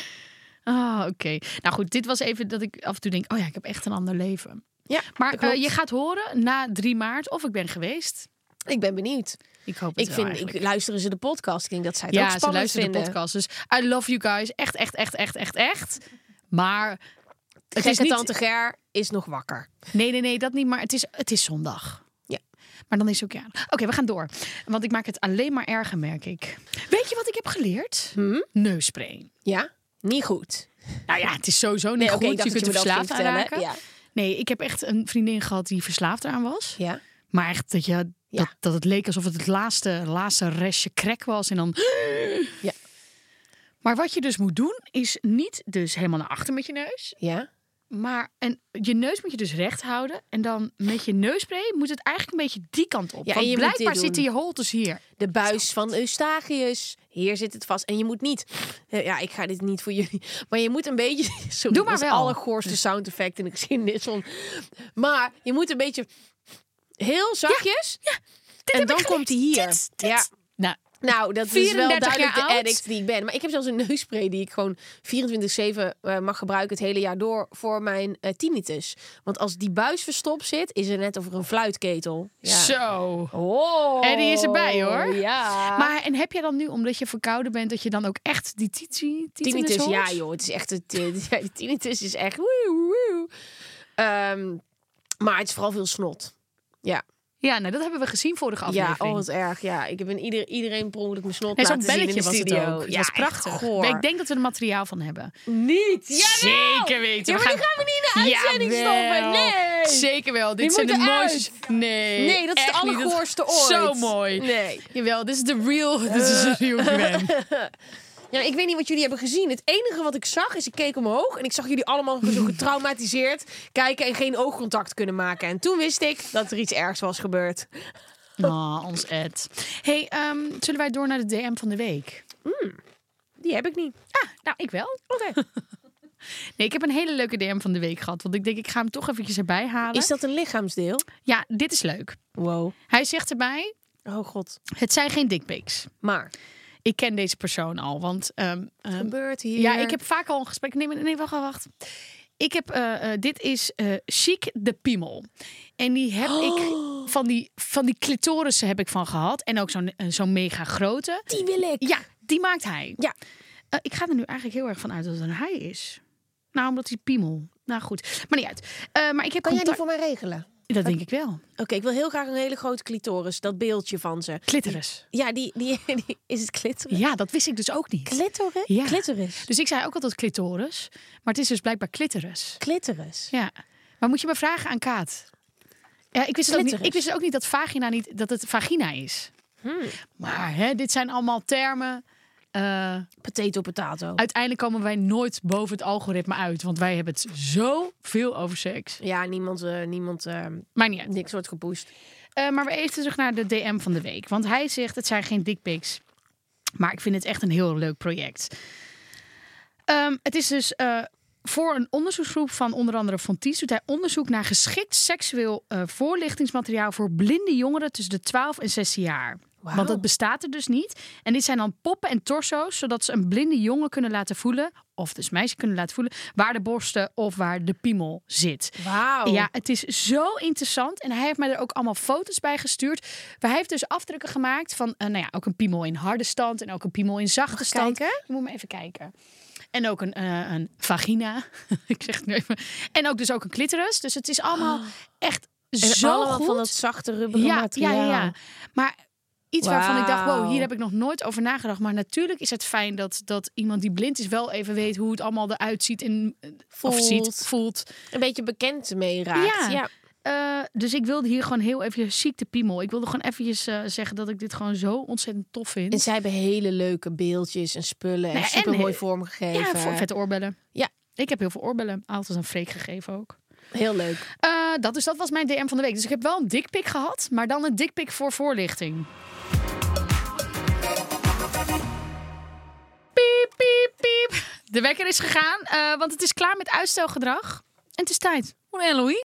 [SPEAKER 2] Ah, oké. Nou goed, dit was even dat ik af en toe denk... oh ja, ik heb echt een ander leven.
[SPEAKER 3] Ja,
[SPEAKER 2] Maar
[SPEAKER 3] klopt.
[SPEAKER 2] eh, je gaat horen na 3 maart of ik ben geweest.
[SPEAKER 3] Ik ben benieuwd.
[SPEAKER 2] Ik hoop het
[SPEAKER 3] Ik
[SPEAKER 2] wel
[SPEAKER 3] vind,
[SPEAKER 2] eigenlijk.
[SPEAKER 3] ik, luisteren ze de podcast? Ik denk dat zij het ook
[SPEAKER 2] ja, ze
[SPEAKER 3] spannend
[SPEAKER 2] luisteren
[SPEAKER 3] vinden.
[SPEAKER 2] de podcast. Dus I love you guys. Echt, echt, echt, echt, echt, echt. Maar het is
[SPEAKER 3] Gekke
[SPEAKER 2] niet...
[SPEAKER 3] tante Ger is nog wakker.
[SPEAKER 2] Nee, nee, nee, dat niet. Maar het is, het is zondag.
[SPEAKER 3] Ja.
[SPEAKER 2] Maar dan is het ook ja. Oké, we gaan door. Want ik maak het alleen maar erger, merk ik. Weet je wat ik heb geleerd?
[SPEAKER 3] Hmm?
[SPEAKER 2] Neuspray.
[SPEAKER 3] Ja? Niet goed.
[SPEAKER 2] Nou ja, het is sowieso niet
[SPEAKER 3] oké,
[SPEAKER 2] goed.
[SPEAKER 3] ik dacht
[SPEAKER 2] je
[SPEAKER 3] dat
[SPEAKER 2] kunt er
[SPEAKER 3] je me dat
[SPEAKER 2] verslaafd
[SPEAKER 3] ging
[SPEAKER 2] aan
[SPEAKER 3] vertellen.
[SPEAKER 2] raken. Nee, ik heb echt een vriendin gehad die verslaafd eraan was.
[SPEAKER 3] Ja.
[SPEAKER 2] Maar echt dat, je,
[SPEAKER 3] Ja.
[SPEAKER 2] dat, dat het leek alsof het het laatste, laatste restje crack was. En dan...
[SPEAKER 3] Ja.
[SPEAKER 2] Maar wat je dus moet doen, is niet dus helemaal naar achter met je neus.
[SPEAKER 3] Ja.
[SPEAKER 2] Maar en je neus moet je dus recht houden. En dan met je neuspray moet het eigenlijk een beetje die kant op.
[SPEAKER 3] Ja, en
[SPEAKER 2] Want
[SPEAKER 3] je moet dit
[SPEAKER 2] blijkbaar
[SPEAKER 3] doen.
[SPEAKER 2] zitten je holtes hier.
[SPEAKER 3] De buis van Eustachius. Hier zit het vast. En je moet niet... Eh, Ja, ik ga dit niet voor jullie. Maar je moet een beetje... Sorry,
[SPEAKER 2] Doe maar
[SPEAKER 3] dat is
[SPEAKER 2] wel.
[SPEAKER 3] Het allergoorste sound effect in de geschiedenis. Van, maar je moet een beetje... Heel zachtjes.
[SPEAKER 2] Dit
[SPEAKER 3] en
[SPEAKER 2] heb
[SPEAKER 3] dan
[SPEAKER 2] ik
[SPEAKER 3] komt hij
[SPEAKER 2] geleerd.
[SPEAKER 3] hier.
[SPEAKER 2] Dit, dit.
[SPEAKER 3] Ja.
[SPEAKER 2] Nou,
[SPEAKER 3] Nou, dat is wel
[SPEAKER 2] 34
[SPEAKER 3] duidelijk de
[SPEAKER 2] jaar oud.
[SPEAKER 3] addict die ik ben. Maar ik heb zelfs een neuspray die ik gewoon 24-7 eh, mag gebruiken het hele jaar door voor mijn eh, tinnitus. Want als die buis verstopt zit, is het net of er een fluitketel. Ja.
[SPEAKER 2] zo.
[SPEAKER 3] Oh.
[SPEAKER 2] En die is erbij, hoor.
[SPEAKER 3] Ja.
[SPEAKER 2] Maar en heb jij dan nu, omdat je verkouden bent, dat je dan ook echt die titi,
[SPEAKER 3] tinnitus,
[SPEAKER 2] hoort?
[SPEAKER 3] ja joh, het is echt het eh, ja, die tinnitus is echt. woe, woe. Ehm, maar het is vooral veel snot. Ja,
[SPEAKER 2] Ja, nou dat hebben we gezien vorige
[SPEAKER 3] ja
[SPEAKER 2] aflevering.
[SPEAKER 3] oh wat erg. Ja, ik heb een ieder, iedereen per ongeluk mijn snot
[SPEAKER 2] Nee, zo'n
[SPEAKER 3] laten zien in de
[SPEAKER 2] belletje was het
[SPEAKER 3] studio.
[SPEAKER 2] ook. Het
[SPEAKER 3] ja,
[SPEAKER 2] was
[SPEAKER 3] echt
[SPEAKER 2] prachtig.
[SPEAKER 3] goor.
[SPEAKER 2] Maar ik denk dat we er materiaal van hebben.
[SPEAKER 3] niet.
[SPEAKER 2] Zeker weten.
[SPEAKER 3] Ja, maar die gaan we niet in de uitzending stoppen.
[SPEAKER 2] Jawel.
[SPEAKER 3] Nee.
[SPEAKER 2] Zeker wel. Dit
[SPEAKER 3] Die
[SPEAKER 2] zijn de
[SPEAKER 3] moeten
[SPEAKER 2] mooiste. Nee.
[SPEAKER 3] Nee, dat is de
[SPEAKER 2] echt niet. Dat-
[SPEAKER 3] allergoorste ooit.
[SPEAKER 2] Zo mooi.
[SPEAKER 3] Nee.
[SPEAKER 2] Jawel, dit is de real.
[SPEAKER 3] Eh.
[SPEAKER 2] Dit is de real Gwen.
[SPEAKER 3] Ja, ik weet niet wat jullie hebben gezien. Het enige wat ik zag is, ik keek omhoog en ik zag jullie allemaal zo getraumatiseerd kijken en geen oogcontact kunnen maken. En toen wist ik dat er iets ergs was gebeurd.
[SPEAKER 2] Ah, ons Ed. Hey, ehm, zullen wij door naar de DM van de week?
[SPEAKER 3] Die heb ik niet.
[SPEAKER 2] Ah, nou, ik wel. Nee, ik heb een hele leuke DM van de week gehad. Want ik denk, ik ga hem toch eventjes erbij halen.
[SPEAKER 3] Is dat een lichaamsdeel?
[SPEAKER 2] Ja, dit is leuk.
[SPEAKER 3] Wow.
[SPEAKER 2] Hij zegt erbij,
[SPEAKER 3] Oh god.
[SPEAKER 2] het zijn geen dickpics.
[SPEAKER 3] Maar.
[SPEAKER 2] Ik ken deze persoon al, want... ehm, ehm,
[SPEAKER 3] Gebeurt hier.
[SPEAKER 2] ja, ik heb vaak al een gesprek... Nee, maar- nee wacht, wacht, wacht. Ik heb, eh, eh, dit is eh Chic de Piemel. En die heb
[SPEAKER 3] Oh.
[SPEAKER 2] ik... Van die, van die clitorissen heb ik van gehad. En ook zo'n eh, zo'n mega grote.
[SPEAKER 3] Die wil ik.
[SPEAKER 2] Ja, die maakt hij.
[SPEAKER 3] Ja.
[SPEAKER 2] Eh, ik ga er nu eigenlijk heel erg van uit dat het een hij is. Nou, omdat hij piemel. Nou goed, maar niet uit. Eh, maar ik heb
[SPEAKER 3] Kan jij die
[SPEAKER 2] contact-
[SPEAKER 3] voor mij regelen?
[SPEAKER 2] Dat denk ik wel.
[SPEAKER 3] Oké, ik wil heel graag een hele grote clitoris. Dat beeldje van ze.
[SPEAKER 2] Clitoris.
[SPEAKER 3] Ja, die, die, die- is het clitoris.
[SPEAKER 2] Ja, dat wist ik dus ook niet.
[SPEAKER 3] Clitoris?
[SPEAKER 2] Ja.
[SPEAKER 3] Clitoris.
[SPEAKER 2] Dus ik zei ook altijd clitoris. Maar het is dus blijkbaar clitoris.
[SPEAKER 3] Clitoris.
[SPEAKER 2] Ja. Maar moet je maar vragen aan Kaat. Ja, ik wist het ook niet.
[SPEAKER 3] Clitoris.
[SPEAKER 2] Ik wist het ook niet dat vagina niet dat het vagina is. Maar hè, dit zijn allemaal termen. Eh,
[SPEAKER 3] Potato, potato.
[SPEAKER 2] uiteindelijk komen wij nooit boven het algoritme uit, want wij hebben het zoveel over seks.
[SPEAKER 3] Ja, niemand, eh, niemand eh,
[SPEAKER 2] Maar niet uit.
[SPEAKER 3] niks wordt gepusht.
[SPEAKER 2] Eh, maar we even terug naar de DM van de week. Want hij zegt, het zijn geen dickpics. Maar ik vind het echt een heel leuk project. Ehm, het is dus eh, voor een onderzoeksgroep van onder andere Fonties... doet hij onderzoek naar geschikt seksueel eh, voorlichtingsmateriaal... voor blinde jongeren tussen de 12 en 16 jaar.
[SPEAKER 3] Wauw.
[SPEAKER 2] Want dat bestaat er dus niet. En dit zijn dan poppen en torso's... zodat ze een blinde jongen kunnen laten voelen... of dus meisje kunnen laten voelen... waar de borsten of waar de piemel zit.
[SPEAKER 3] Wauw.
[SPEAKER 2] Ja, het is zo interessant. En hij heeft mij er ook allemaal foto's bij gestuurd. Maar hij heeft dus afdrukken gemaakt van eh, nou ja, ook een piemel in harde stand en ook een piemel in zachte stand.
[SPEAKER 3] kijken?
[SPEAKER 2] Je moet maar even kijken. En ook een, eh, een vagina. Ik zeg het nu even. En ook dus ook een clitoris. Dus het is allemaal echt zo
[SPEAKER 3] Ah. allemaal
[SPEAKER 2] goed.
[SPEAKER 3] van dat zachte rubberen materiaal.
[SPEAKER 2] Ja, ja, ja. Maar iets waarvan ik dacht, wow,
[SPEAKER 3] Wauw.
[SPEAKER 2] hier heb ik nog nooit over nagedacht. Maar natuurlijk is het fijn dat, dat iemand die blind is wel even weet hoe het allemaal eruit ziet. En, voelt. Of ziet,
[SPEAKER 3] Voelt.
[SPEAKER 2] voelt.
[SPEAKER 3] Een beetje bekend mee raakt.
[SPEAKER 2] Ja.
[SPEAKER 3] Ja.
[SPEAKER 2] Eh, dus ik wilde hier gewoon heel even ziekte piemel. Ik wilde gewoon eventjes eh, zeggen dat ik dit gewoon zo ontzettend tof vind.
[SPEAKER 3] En zij hebben hele leuke beeldjes en spullen.
[SPEAKER 2] Nou
[SPEAKER 3] en
[SPEAKER 2] ja,
[SPEAKER 3] super mooi
[SPEAKER 2] en-
[SPEAKER 3] vormgegeven.
[SPEAKER 2] ja, voor vette oorbellen.
[SPEAKER 3] Ja.
[SPEAKER 2] Ik heb heel veel oorbellen. Altijd aan Freek gegeven ook.
[SPEAKER 3] Heel leuk.
[SPEAKER 2] Eh, dat, dus dat was mijn DM van de week. Dus ik heb wel een dikpik gehad, maar dan een dikpik voor voorlichting. de wekker is gegaan, eh, want het is klaar met uitstelgedrag. En het is tijd. Hoe en Louis?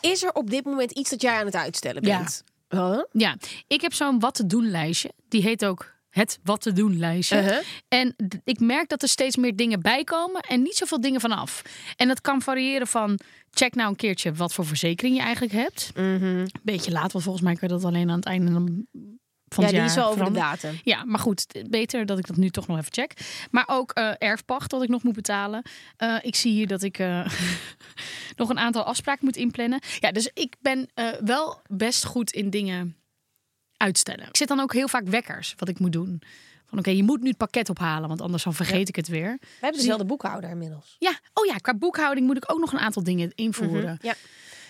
[SPEAKER 3] Is er op dit moment iets dat jij aan het uitstellen
[SPEAKER 2] Ja.
[SPEAKER 3] bent? Huh?
[SPEAKER 2] Ja, ik heb zo'n wat te doen lijstje. Die heet ook het wat te doen lijstje.
[SPEAKER 3] Uh-huh.
[SPEAKER 2] En d- ik merk dat er steeds meer dingen bij komen en niet zoveel dingen vanaf. En dat kan variëren van check nou een keertje wat voor verzekering je eigenlijk hebt.
[SPEAKER 3] Mhm.
[SPEAKER 2] Beetje laat, want volgens mij kan je dat alleen aan het einde van
[SPEAKER 3] Ja,
[SPEAKER 2] het
[SPEAKER 3] die
[SPEAKER 2] jaar
[SPEAKER 3] is wel over de
[SPEAKER 2] veranderen.
[SPEAKER 3] datum.
[SPEAKER 2] Ja, maar goed, t- beter dat ik dat nu toch nog even check. Maar ook eh, erfpacht dat ik nog moet betalen. Eh, ik zie hier dat ik eh, nog een aantal afspraken moet inplannen. Ja, dus ik ben eh, wel best goed in dingen uitstellen. Ik zet dan ook heel vaak wekkers wat ik moet doen. Van oké, je moet nu het pakket ophalen, want anders dan vergeet ik het weer.
[SPEAKER 3] We hebben dezelfde boekhouder inmiddels.
[SPEAKER 2] Ja, oh ja, qua boekhouding moet ik ook nog een aantal dingen invoeren.
[SPEAKER 3] Ja.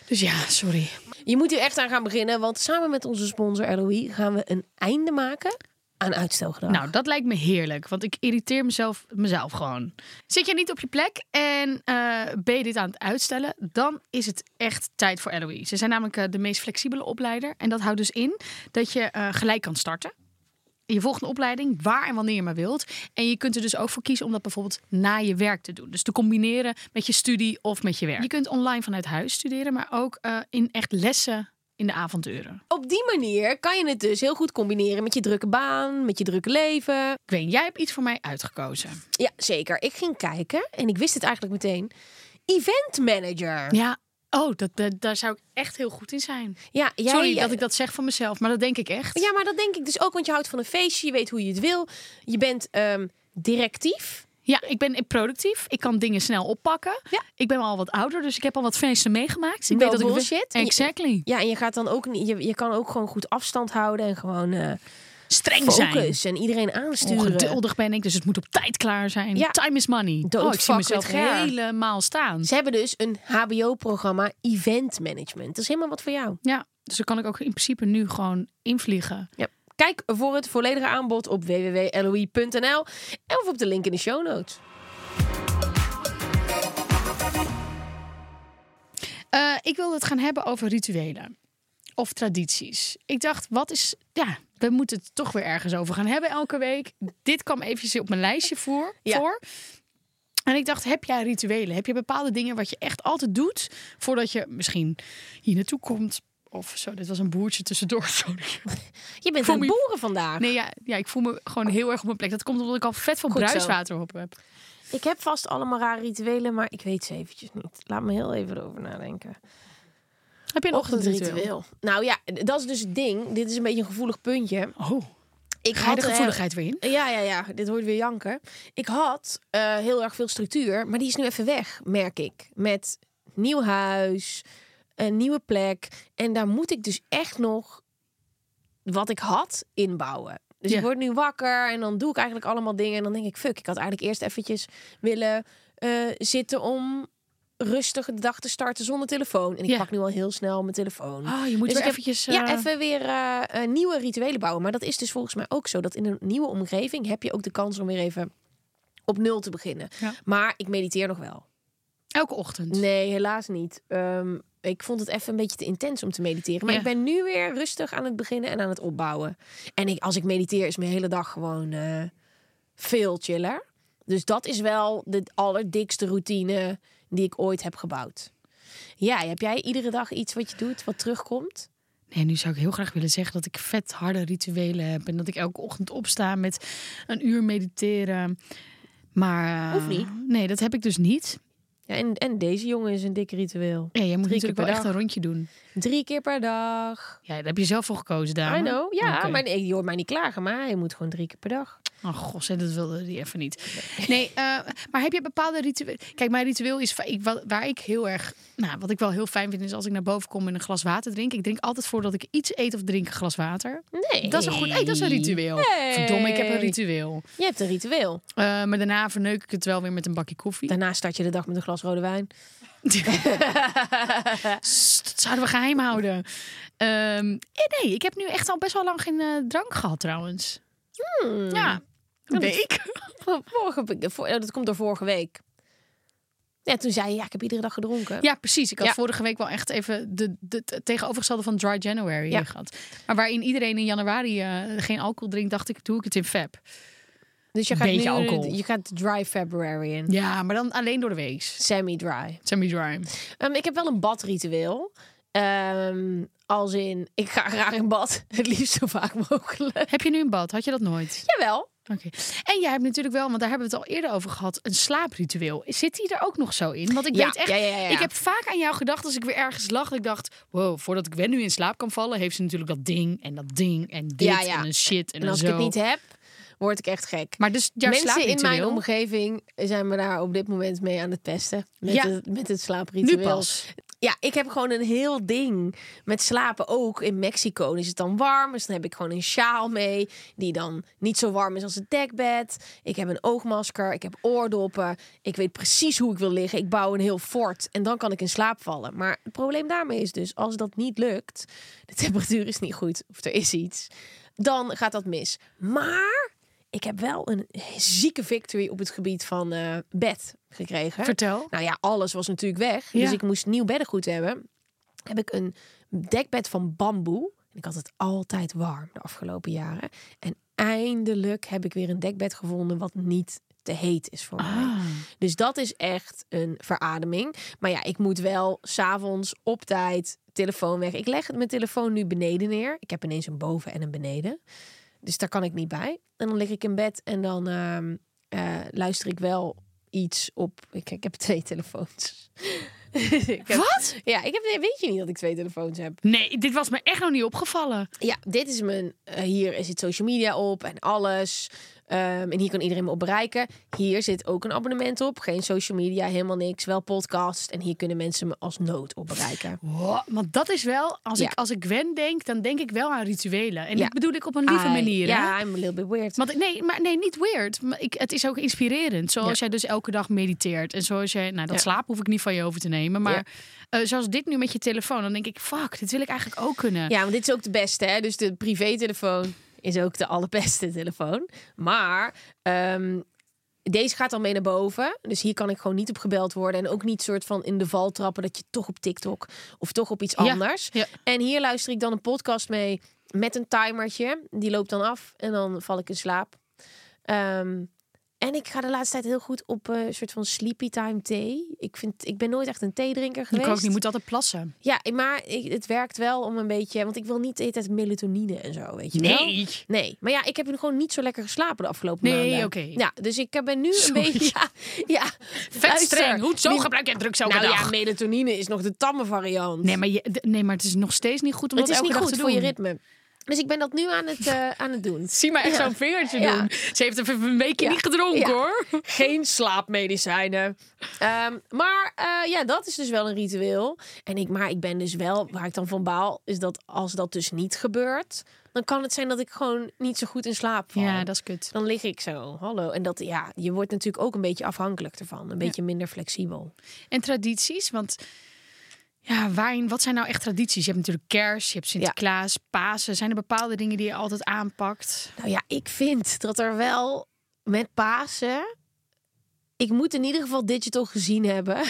[SPEAKER 2] Dus ja, sorry.
[SPEAKER 3] Je moet hier echt aan gaan beginnen, want samen met onze sponsor LOI gaan we een einde maken aan uitstelgedrag.
[SPEAKER 2] Nou, dat lijkt me heerlijk, want ik irriteer mezelf, mezelf gewoon. Zit je niet op je plek en eh, ben je dit aan het uitstellen, dan is het echt tijd voor LOE. Ze zijn namelijk eh, de meest flexibele opleider en dat houdt dus in dat je eh, gelijk kan starten. Je volgt een opleiding waar en wanneer je maar wilt. En je kunt er dus ook voor kiezen om dat bijvoorbeeld na je werk te doen. Dus te combineren met je studie of met je werk. Je kunt online vanuit huis studeren, maar ook eh, in echt lessen in de avonduren.
[SPEAKER 3] Op die manier kan je het dus heel goed combineren met je drukke baan, met je drukke leven.
[SPEAKER 2] Gwen, jij hebt iets voor mij uitgekozen.
[SPEAKER 3] Ja, zeker. Ik ging kijken en ik wist het eigenlijk meteen. Event manager.
[SPEAKER 2] Ja. Oh, dat, dat- daar zou ik echt heel goed in zijn.
[SPEAKER 3] Ja, jij,
[SPEAKER 2] Sorry dat ik dat zeg van mezelf, maar dat denk ik echt.
[SPEAKER 3] Ja, maar dat denk ik dus ook, want je houdt van een feestje, je weet hoe je het wil. Je bent ehm, directief.
[SPEAKER 2] Ja, ik ben productief. Ik kan dingen snel oppakken.
[SPEAKER 3] Ja.
[SPEAKER 2] Ik ben al wat ouder, dus ik heb al wat feesten meegemaakt. Ik
[SPEAKER 3] Wel
[SPEAKER 2] weet dat
[SPEAKER 3] bullshit.
[SPEAKER 2] ik... Exactly.
[SPEAKER 3] Ja, en je gaat dan ook niet, je, je kan ook gewoon goed afstand houden en gewoon eh
[SPEAKER 2] Streng zijn.
[SPEAKER 3] focus en iedereen aansturen.
[SPEAKER 2] Ongeduldig ben ik, dus het moet op tijd klaar zijn.
[SPEAKER 3] Ja.
[SPEAKER 2] Time is money.
[SPEAKER 3] Don't
[SPEAKER 2] oh, ik zie
[SPEAKER 3] fuck
[SPEAKER 2] mezelf
[SPEAKER 3] with Ger.
[SPEAKER 2] helemaal staan.
[SPEAKER 3] Ze hebben dus een HBO-programma Event Management. Dat is helemaal wat voor jou.
[SPEAKER 2] Ja, dus dan kan ik ook in principe nu gewoon invliegen.
[SPEAKER 3] Ja. Kijk voor het volledige aanbod op www.loi.nl of op de link in de show notes.
[SPEAKER 2] Eh, ik wilde het gaan hebben over rituelen of tradities. Ik dacht, wat is. Ja, we moeten het toch weer ergens over gaan hebben elke week. Dit kwam eventjes op mijn lijstje voor.
[SPEAKER 3] Ja.
[SPEAKER 2] voor. En ik dacht, heb jij rituelen? Heb je bepaalde dingen wat je echt altijd doet voordat je misschien hier naartoe komt? Of zo, dit was een boertje tussendoor. Sorry.
[SPEAKER 3] Je bent
[SPEAKER 2] Voel
[SPEAKER 3] aan het
[SPEAKER 2] me-
[SPEAKER 3] boeren vandaag.
[SPEAKER 2] Nee, ja, ja, ik voel me gewoon heel erg op mijn plek. Dat komt omdat ik al vet veel
[SPEAKER 3] Goed zo.
[SPEAKER 2] bruiswater op heb.
[SPEAKER 3] Ik heb vast allemaal rare rituelen, maar ik weet ze eventjes niet. Laat me heel even erover nadenken.
[SPEAKER 2] Heb je een ochtendritueel?
[SPEAKER 3] Ochtendritueel. Nou ja, dat is dus het ding. Dit is een beetje een gevoelig puntje.
[SPEAKER 2] Oh,
[SPEAKER 3] Ik
[SPEAKER 2] ga je de
[SPEAKER 3] had, eh,
[SPEAKER 2] gevoeligheid weer in?
[SPEAKER 3] Ja, ja, ja. Dit hoort weer janken. Ik had eh, heel erg veel structuur, maar die is nu even weg, merk ik. Met nieuw huis, een nieuwe plek. En daar moet ik dus echt nog wat ik had inbouwen. Dus
[SPEAKER 2] Ja.
[SPEAKER 3] ik word nu wakker en dan doe ik eigenlijk allemaal dingen. En dan denk ik, fuck, ik had eigenlijk eerst eventjes willen eh, zitten om rustig de dag te starten zonder telefoon. En ik
[SPEAKER 2] Ja.
[SPEAKER 3] pak nu al heel snel mijn telefoon.
[SPEAKER 2] Oh, je moet
[SPEAKER 3] Dus
[SPEAKER 2] weer
[SPEAKER 3] ik heb-
[SPEAKER 2] eventjes...
[SPEAKER 3] Ja,
[SPEAKER 2] eh,
[SPEAKER 3] even weer eh, eh, nieuwe rituelen bouwen. Maar dat is dus volgens mij ook zo. Dat in een nieuwe omgeving heb je ook de kans om weer even op nul te beginnen.
[SPEAKER 2] Ja.
[SPEAKER 3] Maar ik mediteer nog wel.
[SPEAKER 2] Elke ochtend.
[SPEAKER 3] Nee, helaas niet. Ehm, ik vond het even een beetje te intens om te mediteren. Maar
[SPEAKER 2] Ja.
[SPEAKER 3] ik ben nu weer rustig aan het beginnen en aan het opbouwen. En ik, als ik mediteer is mijn hele dag gewoon eh, veel chiller. Dus dat is wel de allerdikste routine die ik ooit heb gebouwd. Ja, heb jij iedere dag iets wat je doet, wat terugkomt?
[SPEAKER 2] Nee, nu zou ik heel graag willen zeggen dat ik vet harde rituelen heb. En dat ik elke ochtend opsta met een uur mediteren. Maar. eh,
[SPEAKER 3] Hoeft niet.
[SPEAKER 2] Nee, dat heb ik dus niet.
[SPEAKER 3] Ja, en, en deze jongen is een dik ritueel.
[SPEAKER 2] Ja, jij moet natuurlijk
[SPEAKER 3] Drie keer
[SPEAKER 2] wel
[SPEAKER 3] per
[SPEAKER 2] echt een rondje doen.
[SPEAKER 3] Drie keer per dag.
[SPEAKER 2] Ja, daar heb je zelf voor gekozen, dame.
[SPEAKER 3] I know. Ja,
[SPEAKER 2] Oké.
[SPEAKER 3] maar nee, je hoort mij niet klagen, maar hij moet gewoon drie keer per dag.
[SPEAKER 2] Oh, god, zeg, dat wilde die even niet. Nee, eh, maar heb je bepaalde rituelen? Kijk, mijn ritueel is va- ik, wa- waar ik heel erg. Nou, wat ik wel heel fijn vind is als ik naar boven kom en een glas water drink. Ik drink altijd voordat ik iets eet of drink een glas water.
[SPEAKER 3] Nee.
[SPEAKER 2] Dat is een goed. Hey, dat is een ritueel.
[SPEAKER 3] Hey.
[SPEAKER 2] Verdomme, ik heb een ritueel.
[SPEAKER 3] Je hebt een ritueel.
[SPEAKER 2] Eh, maar daarna verneuk ik het wel weer met een bakje koffie.
[SPEAKER 3] Daarna start je de dag met een glas rode wijn.
[SPEAKER 2] Sst, dat zouden we geheim houden. Ehm, eh, nee, ik heb nu echt al best wel lang geen eh, drank gehad trouwens. Ja, Hmm. een week.
[SPEAKER 3] Vorige, heb ik- voor- oh, dat komt door vorige week. Ja, toen zei je, ja, ik heb iedere dag gedronken.
[SPEAKER 2] Ja, precies. Ik had
[SPEAKER 3] Ja.
[SPEAKER 2] vorige week wel echt even de, de, het tegenovergestelde van Dry January
[SPEAKER 3] Ja.
[SPEAKER 2] gehad. Maar waarin iedereen in januari eh, geen alcohol drinkt, dacht ik, doe ik het in Feb.
[SPEAKER 3] Dus je gaat
[SPEAKER 2] Beetje
[SPEAKER 3] nu,
[SPEAKER 2] alcohol.
[SPEAKER 3] je gaat dry February in.
[SPEAKER 2] Ja, maar dan alleen door de week.
[SPEAKER 3] Semi-dry.
[SPEAKER 2] Semi-dry.
[SPEAKER 3] Ehm, ik heb wel een badritueel. Ehm, als in, ik ga graag in bad. Het liefst zo vaak mogelijk.
[SPEAKER 2] Heb je nu een bad? Had je dat nooit?
[SPEAKER 3] Jawel.
[SPEAKER 2] Oké. En jij hebt natuurlijk wel, want daar hebben we het al eerder over gehad, een slaapritueel. Zit die er ook nog zo in? Want ik
[SPEAKER 3] Ja,
[SPEAKER 2] weet echt,
[SPEAKER 3] ja, ja, ja, ja.
[SPEAKER 2] ik heb vaak aan jou gedacht als ik weer ergens lag. dat Ik dacht, wow, voordat ik Gwen nu in slaap kan vallen, heeft ze natuurlijk dat ding en dat ding en dit
[SPEAKER 3] Ja, ja.
[SPEAKER 2] en een shit en,
[SPEAKER 3] En
[SPEAKER 2] een
[SPEAKER 3] als
[SPEAKER 2] zo.
[SPEAKER 3] ik het niet heb, word ik echt gek.
[SPEAKER 2] Maar dus jouw
[SPEAKER 3] Mensen in mijn
[SPEAKER 2] slaapritueel-
[SPEAKER 3] omgeving zijn me daar op dit moment mee aan het pesten. Met,
[SPEAKER 2] Ja.
[SPEAKER 3] het, met het slaapritueel.
[SPEAKER 2] Nu pas.
[SPEAKER 3] Ja, ik heb gewoon een heel ding met slapen ook. In Mexico is het dan warm, dus dan heb ik gewoon een sjaal mee... die dan niet zo warm is als het dekbed. Ik heb een oogmasker, ik heb oordoppen. Ik weet precies hoe ik wil liggen. Ik bouw een heel fort en dan kan ik in slaap vallen. Maar het probleem daarmee is dus, als dat niet lukt... de temperatuur is niet goed of er is iets... dan gaat dat mis. Maar ik heb wel een zieke victory op het gebied van eh, bed gekregen.
[SPEAKER 2] Vertel.
[SPEAKER 3] Nou ja, alles was natuurlijk weg.
[SPEAKER 2] Ja.
[SPEAKER 3] Dus ik moest nieuw beddengoed hebben. Heb ik een dekbed van bamboe. En ik had het altijd warm de afgelopen jaren. En eindelijk heb ik weer een dekbed gevonden wat niet te heet is voor mij. Dus dat is echt een verademing. Maar ja, ik moet wel s'avonds op tijd telefoon weg. Ik leg mijn telefoon nu beneden neer. Ik heb ineens een boven en een beneden. Dus daar kan ik niet bij. En dan lig ik in bed en dan ehm, eh, luister ik wel iets op. Ik, ik heb twee telefoons. Ik heb-
[SPEAKER 2] Wat?
[SPEAKER 3] Ja, ik heb, nee, weet je niet dat ik twee telefoons heb?
[SPEAKER 2] Nee, dit was me echt nog niet opgevallen.
[SPEAKER 3] Ja, dit is mijn. eh, hier zit social media op en alles. Ehm, en hier kan iedereen me op bereiken. Hier zit ook een abonnement op. Geen social media, helemaal niks. Wel podcast. En hier kunnen mensen me als nood op bereiken.
[SPEAKER 2] Wow, want dat is wel, als,
[SPEAKER 3] Ja.
[SPEAKER 2] ik, als ik Gwen denk, dan denk ik wel aan rituelen. En
[SPEAKER 3] Ja.
[SPEAKER 2] dat bedoel ik op een lieve
[SPEAKER 3] I-
[SPEAKER 2] manier. hè?
[SPEAKER 3] Ja, I'm a little bit weird.
[SPEAKER 2] Want ik- nee, maar nee, niet weird. Maar ik, het is ook inspirerend. Zoals
[SPEAKER 3] Ja.
[SPEAKER 2] jij dus elke dag mediteert. En zoals jij, nou dat
[SPEAKER 3] Ja.
[SPEAKER 2] slaap hoef ik niet van je over te nemen. Maar
[SPEAKER 3] Ja.
[SPEAKER 2] eh, zoals dit nu met je telefoon, dan denk ik, fuck, dit wil ik eigenlijk ook kunnen.
[SPEAKER 3] Ja, want dit is ook de beste. Hè? Dus de privételefoon is ook de allerbeste telefoon. Maar ehm, deze gaat al mee naar boven. Dus hier kan ik gewoon niet op gebeld worden. En ook niet soort van in de val trappen dat je toch op TikTok of toch op iets
[SPEAKER 2] Ja,
[SPEAKER 3] anders.
[SPEAKER 2] ja.
[SPEAKER 3] En hier luister ik dan een podcast mee met een timertje. Die loopt dan af en dan val ik in slaap. Ehm, en ik ga de laatste tijd heel goed op eh, een soort van sleepy time thee. Ik, vind, ik ben nooit echt een theedrinker
[SPEAKER 2] ik
[SPEAKER 3] geweest.
[SPEAKER 2] ook niet, moet altijd plassen.
[SPEAKER 3] Ja, maar ik, het werkt wel om een beetje... Want ik wil niet de hele tijd melatonine en zo, weet je wel? Nee, maar ja, ik heb nu gewoon niet zo lekker geslapen de afgelopen
[SPEAKER 2] Nee,
[SPEAKER 3] maanden.
[SPEAKER 2] oké.
[SPEAKER 3] Ja, dus ik ben nu
[SPEAKER 2] Sorry.
[SPEAKER 3] een beetje... Ja, ja
[SPEAKER 2] Vet streng. Hoezo
[SPEAKER 3] Niet-
[SPEAKER 2] gebruik jij drugs elke
[SPEAKER 3] Nou
[SPEAKER 2] dag?
[SPEAKER 3] ja, melatonine is nog de tamme variant.
[SPEAKER 2] nee, maar je, d- nee, maar het is nog steeds niet goed om
[SPEAKER 3] het
[SPEAKER 2] dat
[SPEAKER 3] is
[SPEAKER 2] elke
[SPEAKER 3] niet
[SPEAKER 2] dag
[SPEAKER 3] goed
[SPEAKER 2] te
[SPEAKER 3] voor
[SPEAKER 2] doen.
[SPEAKER 3] je ritme. Dus ik ben dat nu aan het, eh, aan het doen.
[SPEAKER 2] Zie maar echt zo'n vingertje
[SPEAKER 3] Ja.
[SPEAKER 2] doen. Ze heeft even een weekje
[SPEAKER 3] Ja.
[SPEAKER 2] niet gedronken
[SPEAKER 3] Ja.
[SPEAKER 2] hoor.
[SPEAKER 3] Geen slaapmedicijnen. Ehm, maar eh, ja, dat is dus wel een ritueel. En ik, maar ik ben dus wel, waar ik dan van baal, is dat als dat dus niet gebeurt, dan kan het zijn dat ik gewoon niet zo goed in slaap val.
[SPEAKER 2] Ja, dat is kut.
[SPEAKER 3] Dan lig ik zo, hallo. En dat, ja, je wordt natuurlijk ook een beetje afhankelijk ervan. Een beetje minder flexibel.
[SPEAKER 2] En tradities, want ja, wijn, wat zijn nou echt tradities? Je hebt natuurlijk kerst, je hebt Sinterklaas, Pasen. Zijn er bepaalde dingen die je altijd aanpakt?
[SPEAKER 3] Nou ja, ik vind dat er wel met Pasen... Ik moet in ieder geval digital gezien hebben.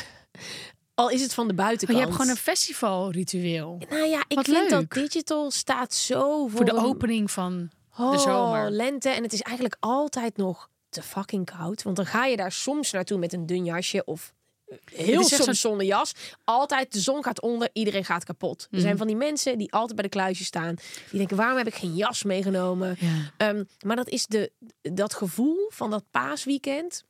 [SPEAKER 3] Al is het van de
[SPEAKER 2] Maar
[SPEAKER 3] buitenkant.
[SPEAKER 2] Oh, je hebt gewoon een festivalritueel.
[SPEAKER 3] Nou ja, ik
[SPEAKER 2] Wat
[SPEAKER 3] vind dat
[SPEAKER 2] leuk.
[SPEAKER 3] digital staat zo voor,
[SPEAKER 2] Voor de
[SPEAKER 3] een-
[SPEAKER 2] opening van
[SPEAKER 3] Oh,
[SPEAKER 2] de zomer.
[SPEAKER 3] lente. En het is eigenlijk altijd nog te fucking koud. Want dan ga je daar soms naartoe met een dun jasje of heel
[SPEAKER 2] echt zo'n-
[SPEAKER 3] soms zonder jas. Altijd de zon gaat onder, iedereen gaat kapot. Er
[SPEAKER 2] Mhm.
[SPEAKER 3] zijn van die mensen die altijd bij de kluisje staan. Die denken, waarom heb ik geen jas meegenomen?
[SPEAKER 2] Ja.
[SPEAKER 3] Ehm, maar dat is de, dat gevoel van dat paasweekend.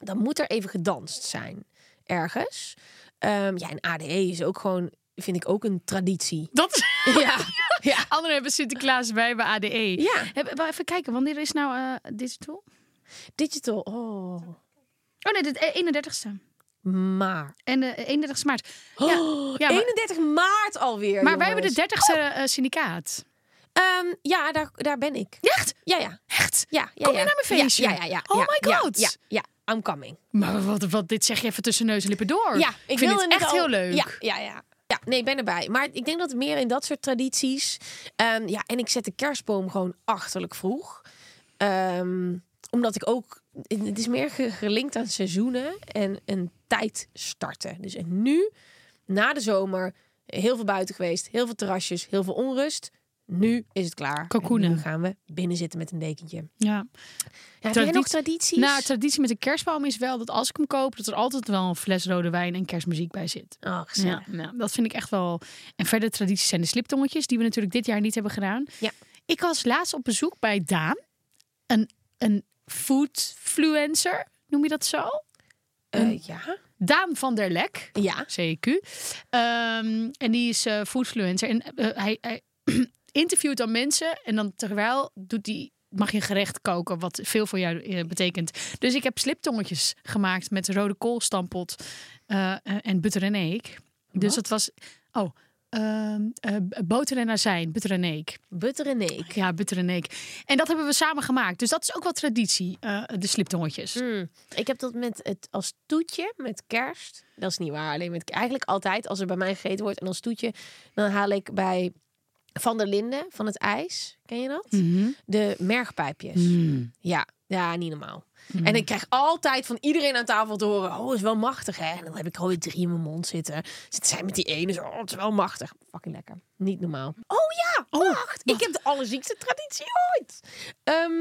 [SPEAKER 3] Dan moet er even gedanst zijn ergens. Ehm, ja, en ADE is ook gewoon, vind ik ook een traditie.
[SPEAKER 2] Dat is...
[SPEAKER 3] Ja, ja.
[SPEAKER 2] Anderen hebben Sinterklaas, wij hebben ADE.
[SPEAKER 3] Ja.
[SPEAKER 2] Heb- wel even kijken, wanneer is nou eh, digital?
[SPEAKER 3] Digital, oh.
[SPEAKER 2] Oh nee, de 31ste.
[SPEAKER 3] Maar.
[SPEAKER 2] En de 31ste maart. Ja, ja, maar,
[SPEAKER 3] 31 maart alweer.
[SPEAKER 2] maar wij hebben
[SPEAKER 3] Oh, jongens.
[SPEAKER 2] de 30ste eh, syndicaat.
[SPEAKER 3] Ehm, ja, daar, daar ben ik.
[SPEAKER 2] Echt?
[SPEAKER 3] Ja, ja.
[SPEAKER 2] Echt?
[SPEAKER 3] ja, ja
[SPEAKER 2] Kom
[SPEAKER 3] ja.
[SPEAKER 2] je naar mijn
[SPEAKER 3] Ja,
[SPEAKER 2] feestje?
[SPEAKER 3] Ja, ja, ja.
[SPEAKER 2] Oh
[SPEAKER 3] ja,
[SPEAKER 2] my
[SPEAKER 3] ja,
[SPEAKER 2] god.
[SPEAKER 3] Ja, ja, I'm coming.
[SPEAKER 2] Maar wat, wat, dit zeg je even tussen neus en lippen door.
[SPEAKER 3] Ja,
[SPEAKER 2] ik
[SPEAKER 3] wilde
[SPEAKER 2] vind het
[SPEAKER 3] net
[SPEAKER 2] echt
[SPEAKER 3] al-
[SPEAKER 2] heel leuk.
[SPEAKER 3] Ja, ja, ja. Ja, nee, ik ben erbij. Maar ik denk dat meer in dat soort tradities. Ehm, ja, en ik zet de kerstboom gewoon achterlijk vroeg. Ehm, omdat ik ook. Het is meer ge- gelinkt aan seizoenen en een tijd starten. Dus en nu, na de zomer, heel veel buiten geweest, heel veel terrasjes, heel veel onrust. Nu is het klaar.
[SPEAKER 2] Kalkoenen.
[SPEAKER 3] En Nu gaan we binnen zitten met een dekentje.
[SPEAKER 2] Ja.
[SPEAKER 3] Ja, heb jij nog
[SPEAKER 2] Traditie-
[SPEAKER 3] tradities?
[SPEAKER 2] Nou, traditie met de kerstboom is wel dat als ik hem koop, dat er altijd wel een fles rode wijn en kerstmuziek bij zit.
[SPEAKER 3] Oh, gezellig.
[SPEAKER 2] Ja, nou, dat vind ik echt wel. En verder tradities zijn de sliptongetjes, die we natuurlijk dit jaar niet hebben gedaan.
[SPEAKER 3] Ja.
[SPEAKER 2] Ik was laatst op bezoek bij Daan, een, een foodfluencer, noem je dat zo?
[SPEAKER 3] Eh, ja.
[SPEAKER 2] Daan van der Lek.
[SPEAKER 3] Ja.
[SPEAKER 2] CQ. Ehm, en die is eh, foodfluencer. En eh, hij, hij interviewt dan mensen. En dan terwijl doet hij, mag je een gerecht koken. Wat veel voor jou eh, betekent. Dus ik heb sliptongetjes gemaakt met rode koolstampot. eh, en butter en eek. Dus het was... Oh, ehm, eh, boter en azijn. Butter en eek.
[SPEAKER 3] Butter en ik.
[SPEAKER 2] Ja, butter en eek. En dat hebben we samen gemaakt. Dus dat is ook wel traditie. eh, de sliptongetjes.
[SPEAKER 3] Mm. Ik heb dat met het als toetje met kerst. Dat is niet waar. Alleen met eigenlijk altijd als er bij mij gegeten wordt en als toetje, dan haal ik bij Van der Linden van het ijs. Ken je dat? De mergpijpjes. Ja, ja, niet normaal. En ik krijg altijd van iedereen aan tafel te horen: Oh, is wel machtig, hè? En dan heb ik er alweer drie in mijn mond zitten. Zitten zij met die ene? Zo, oh, het is wel machtig. Fucking lekker. Niet normaal. Oh ja, wacht. Ik heb de allerziekste traditie ooit. Ehm,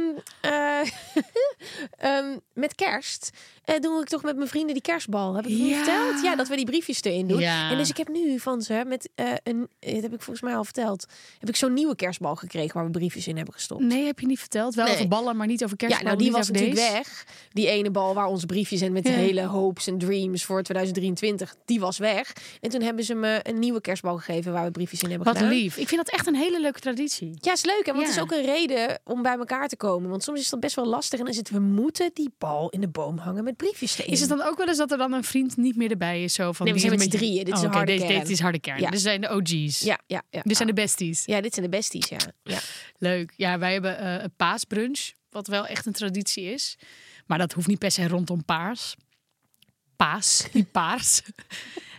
[SPEAKER 3] eh, ehm, met kerst eh, doen we toch met mijn vrienden die kerstbal. Heb ik je
[SPEAKER 2] Ja.
[SPEAKER 3] verteld? Ja, dat we die briefjes erin doen.
[SPEAKER 2] Ja.
[SPEAKER 3] En dus ik heb nu van ze met eh, een, eh, dat heb ik volgens mij al verteld, heb ik zo'n nieuwe kerstbal gekregen waar we briefjes in hebben gestopt.
[SPEAKER 2] Nee, heb je niet verteld. Wel
[SPEAKER 3] Nee.
[SPEAKER 2] over ballen, maar niet over
[SPEAKER 3] Ja,
[SPEAKER 2] kerstballen.
[SPEAKER 3] nou die
[SPEAKER 2] niet
[SPEAKER 3] was
[SPEAKER 2] over
[SPEAKER 3] natuurlijk
[SPEAKER 2] deze.
[SPEAKER 3] weg. Die ene bal waar onze briefjes en met de hele hopes en dreams voor 2023, die was weg. En toen hebben ze me een nieuwe kerstbal gegeven waar we briefjes in hebben
[SPEAKER 2] Wat
[SPEAKER 3] gedaan.
[SPEAKER 2] lief. Ik vind dat echt een hele leuke traditie.
[SPEAKER 3] Ja, is leuk. Hè? Want het
[SPEAKER 2] Ja.
[SPEAKER 3] is ook een reden om bij elkaar te komen. Want soms is dat best wel lastig. En dan zitten we moeten die bal in de boom hangen met briefjes erin.
[SPEAKER 2] Is het dan ook wel eens dat er dan een vriend niet meer erbij is? Zo van,
[SPEAKER 3] Nee, we
[SPEAKER 2] die
[SPEAKER 3] zijn
[SPEAKER 2] een
[SPEAKER 3] met z'n drieën. Dit
[SPEAKER 2] Oh,
[SPEAKER 3] is een
[SPEAKER 2] oké,
[SPEAKER 3] harde
[SPEAKER 2] deze-
[SPEAKER 3] kern.
[SPEAKER 2] Dit is harde kern.
[SPEAKER 3] Ja.
[SPEAKER 2] Dit zijn de OG's.
[SPEAKER 3] Ja, ja, ja.
[SPEAKER 2] Dit zijn de besties.
[SPEAKER 3] Ja, dit zijn de besties, ja. ja.
[SPEAKER 2] Leuk. Ja, wij hebben eh, een paasbrunch. Wat wel echt een traditie is. Maar dat hoeft niet per se rondom paars. Paas, niet paars.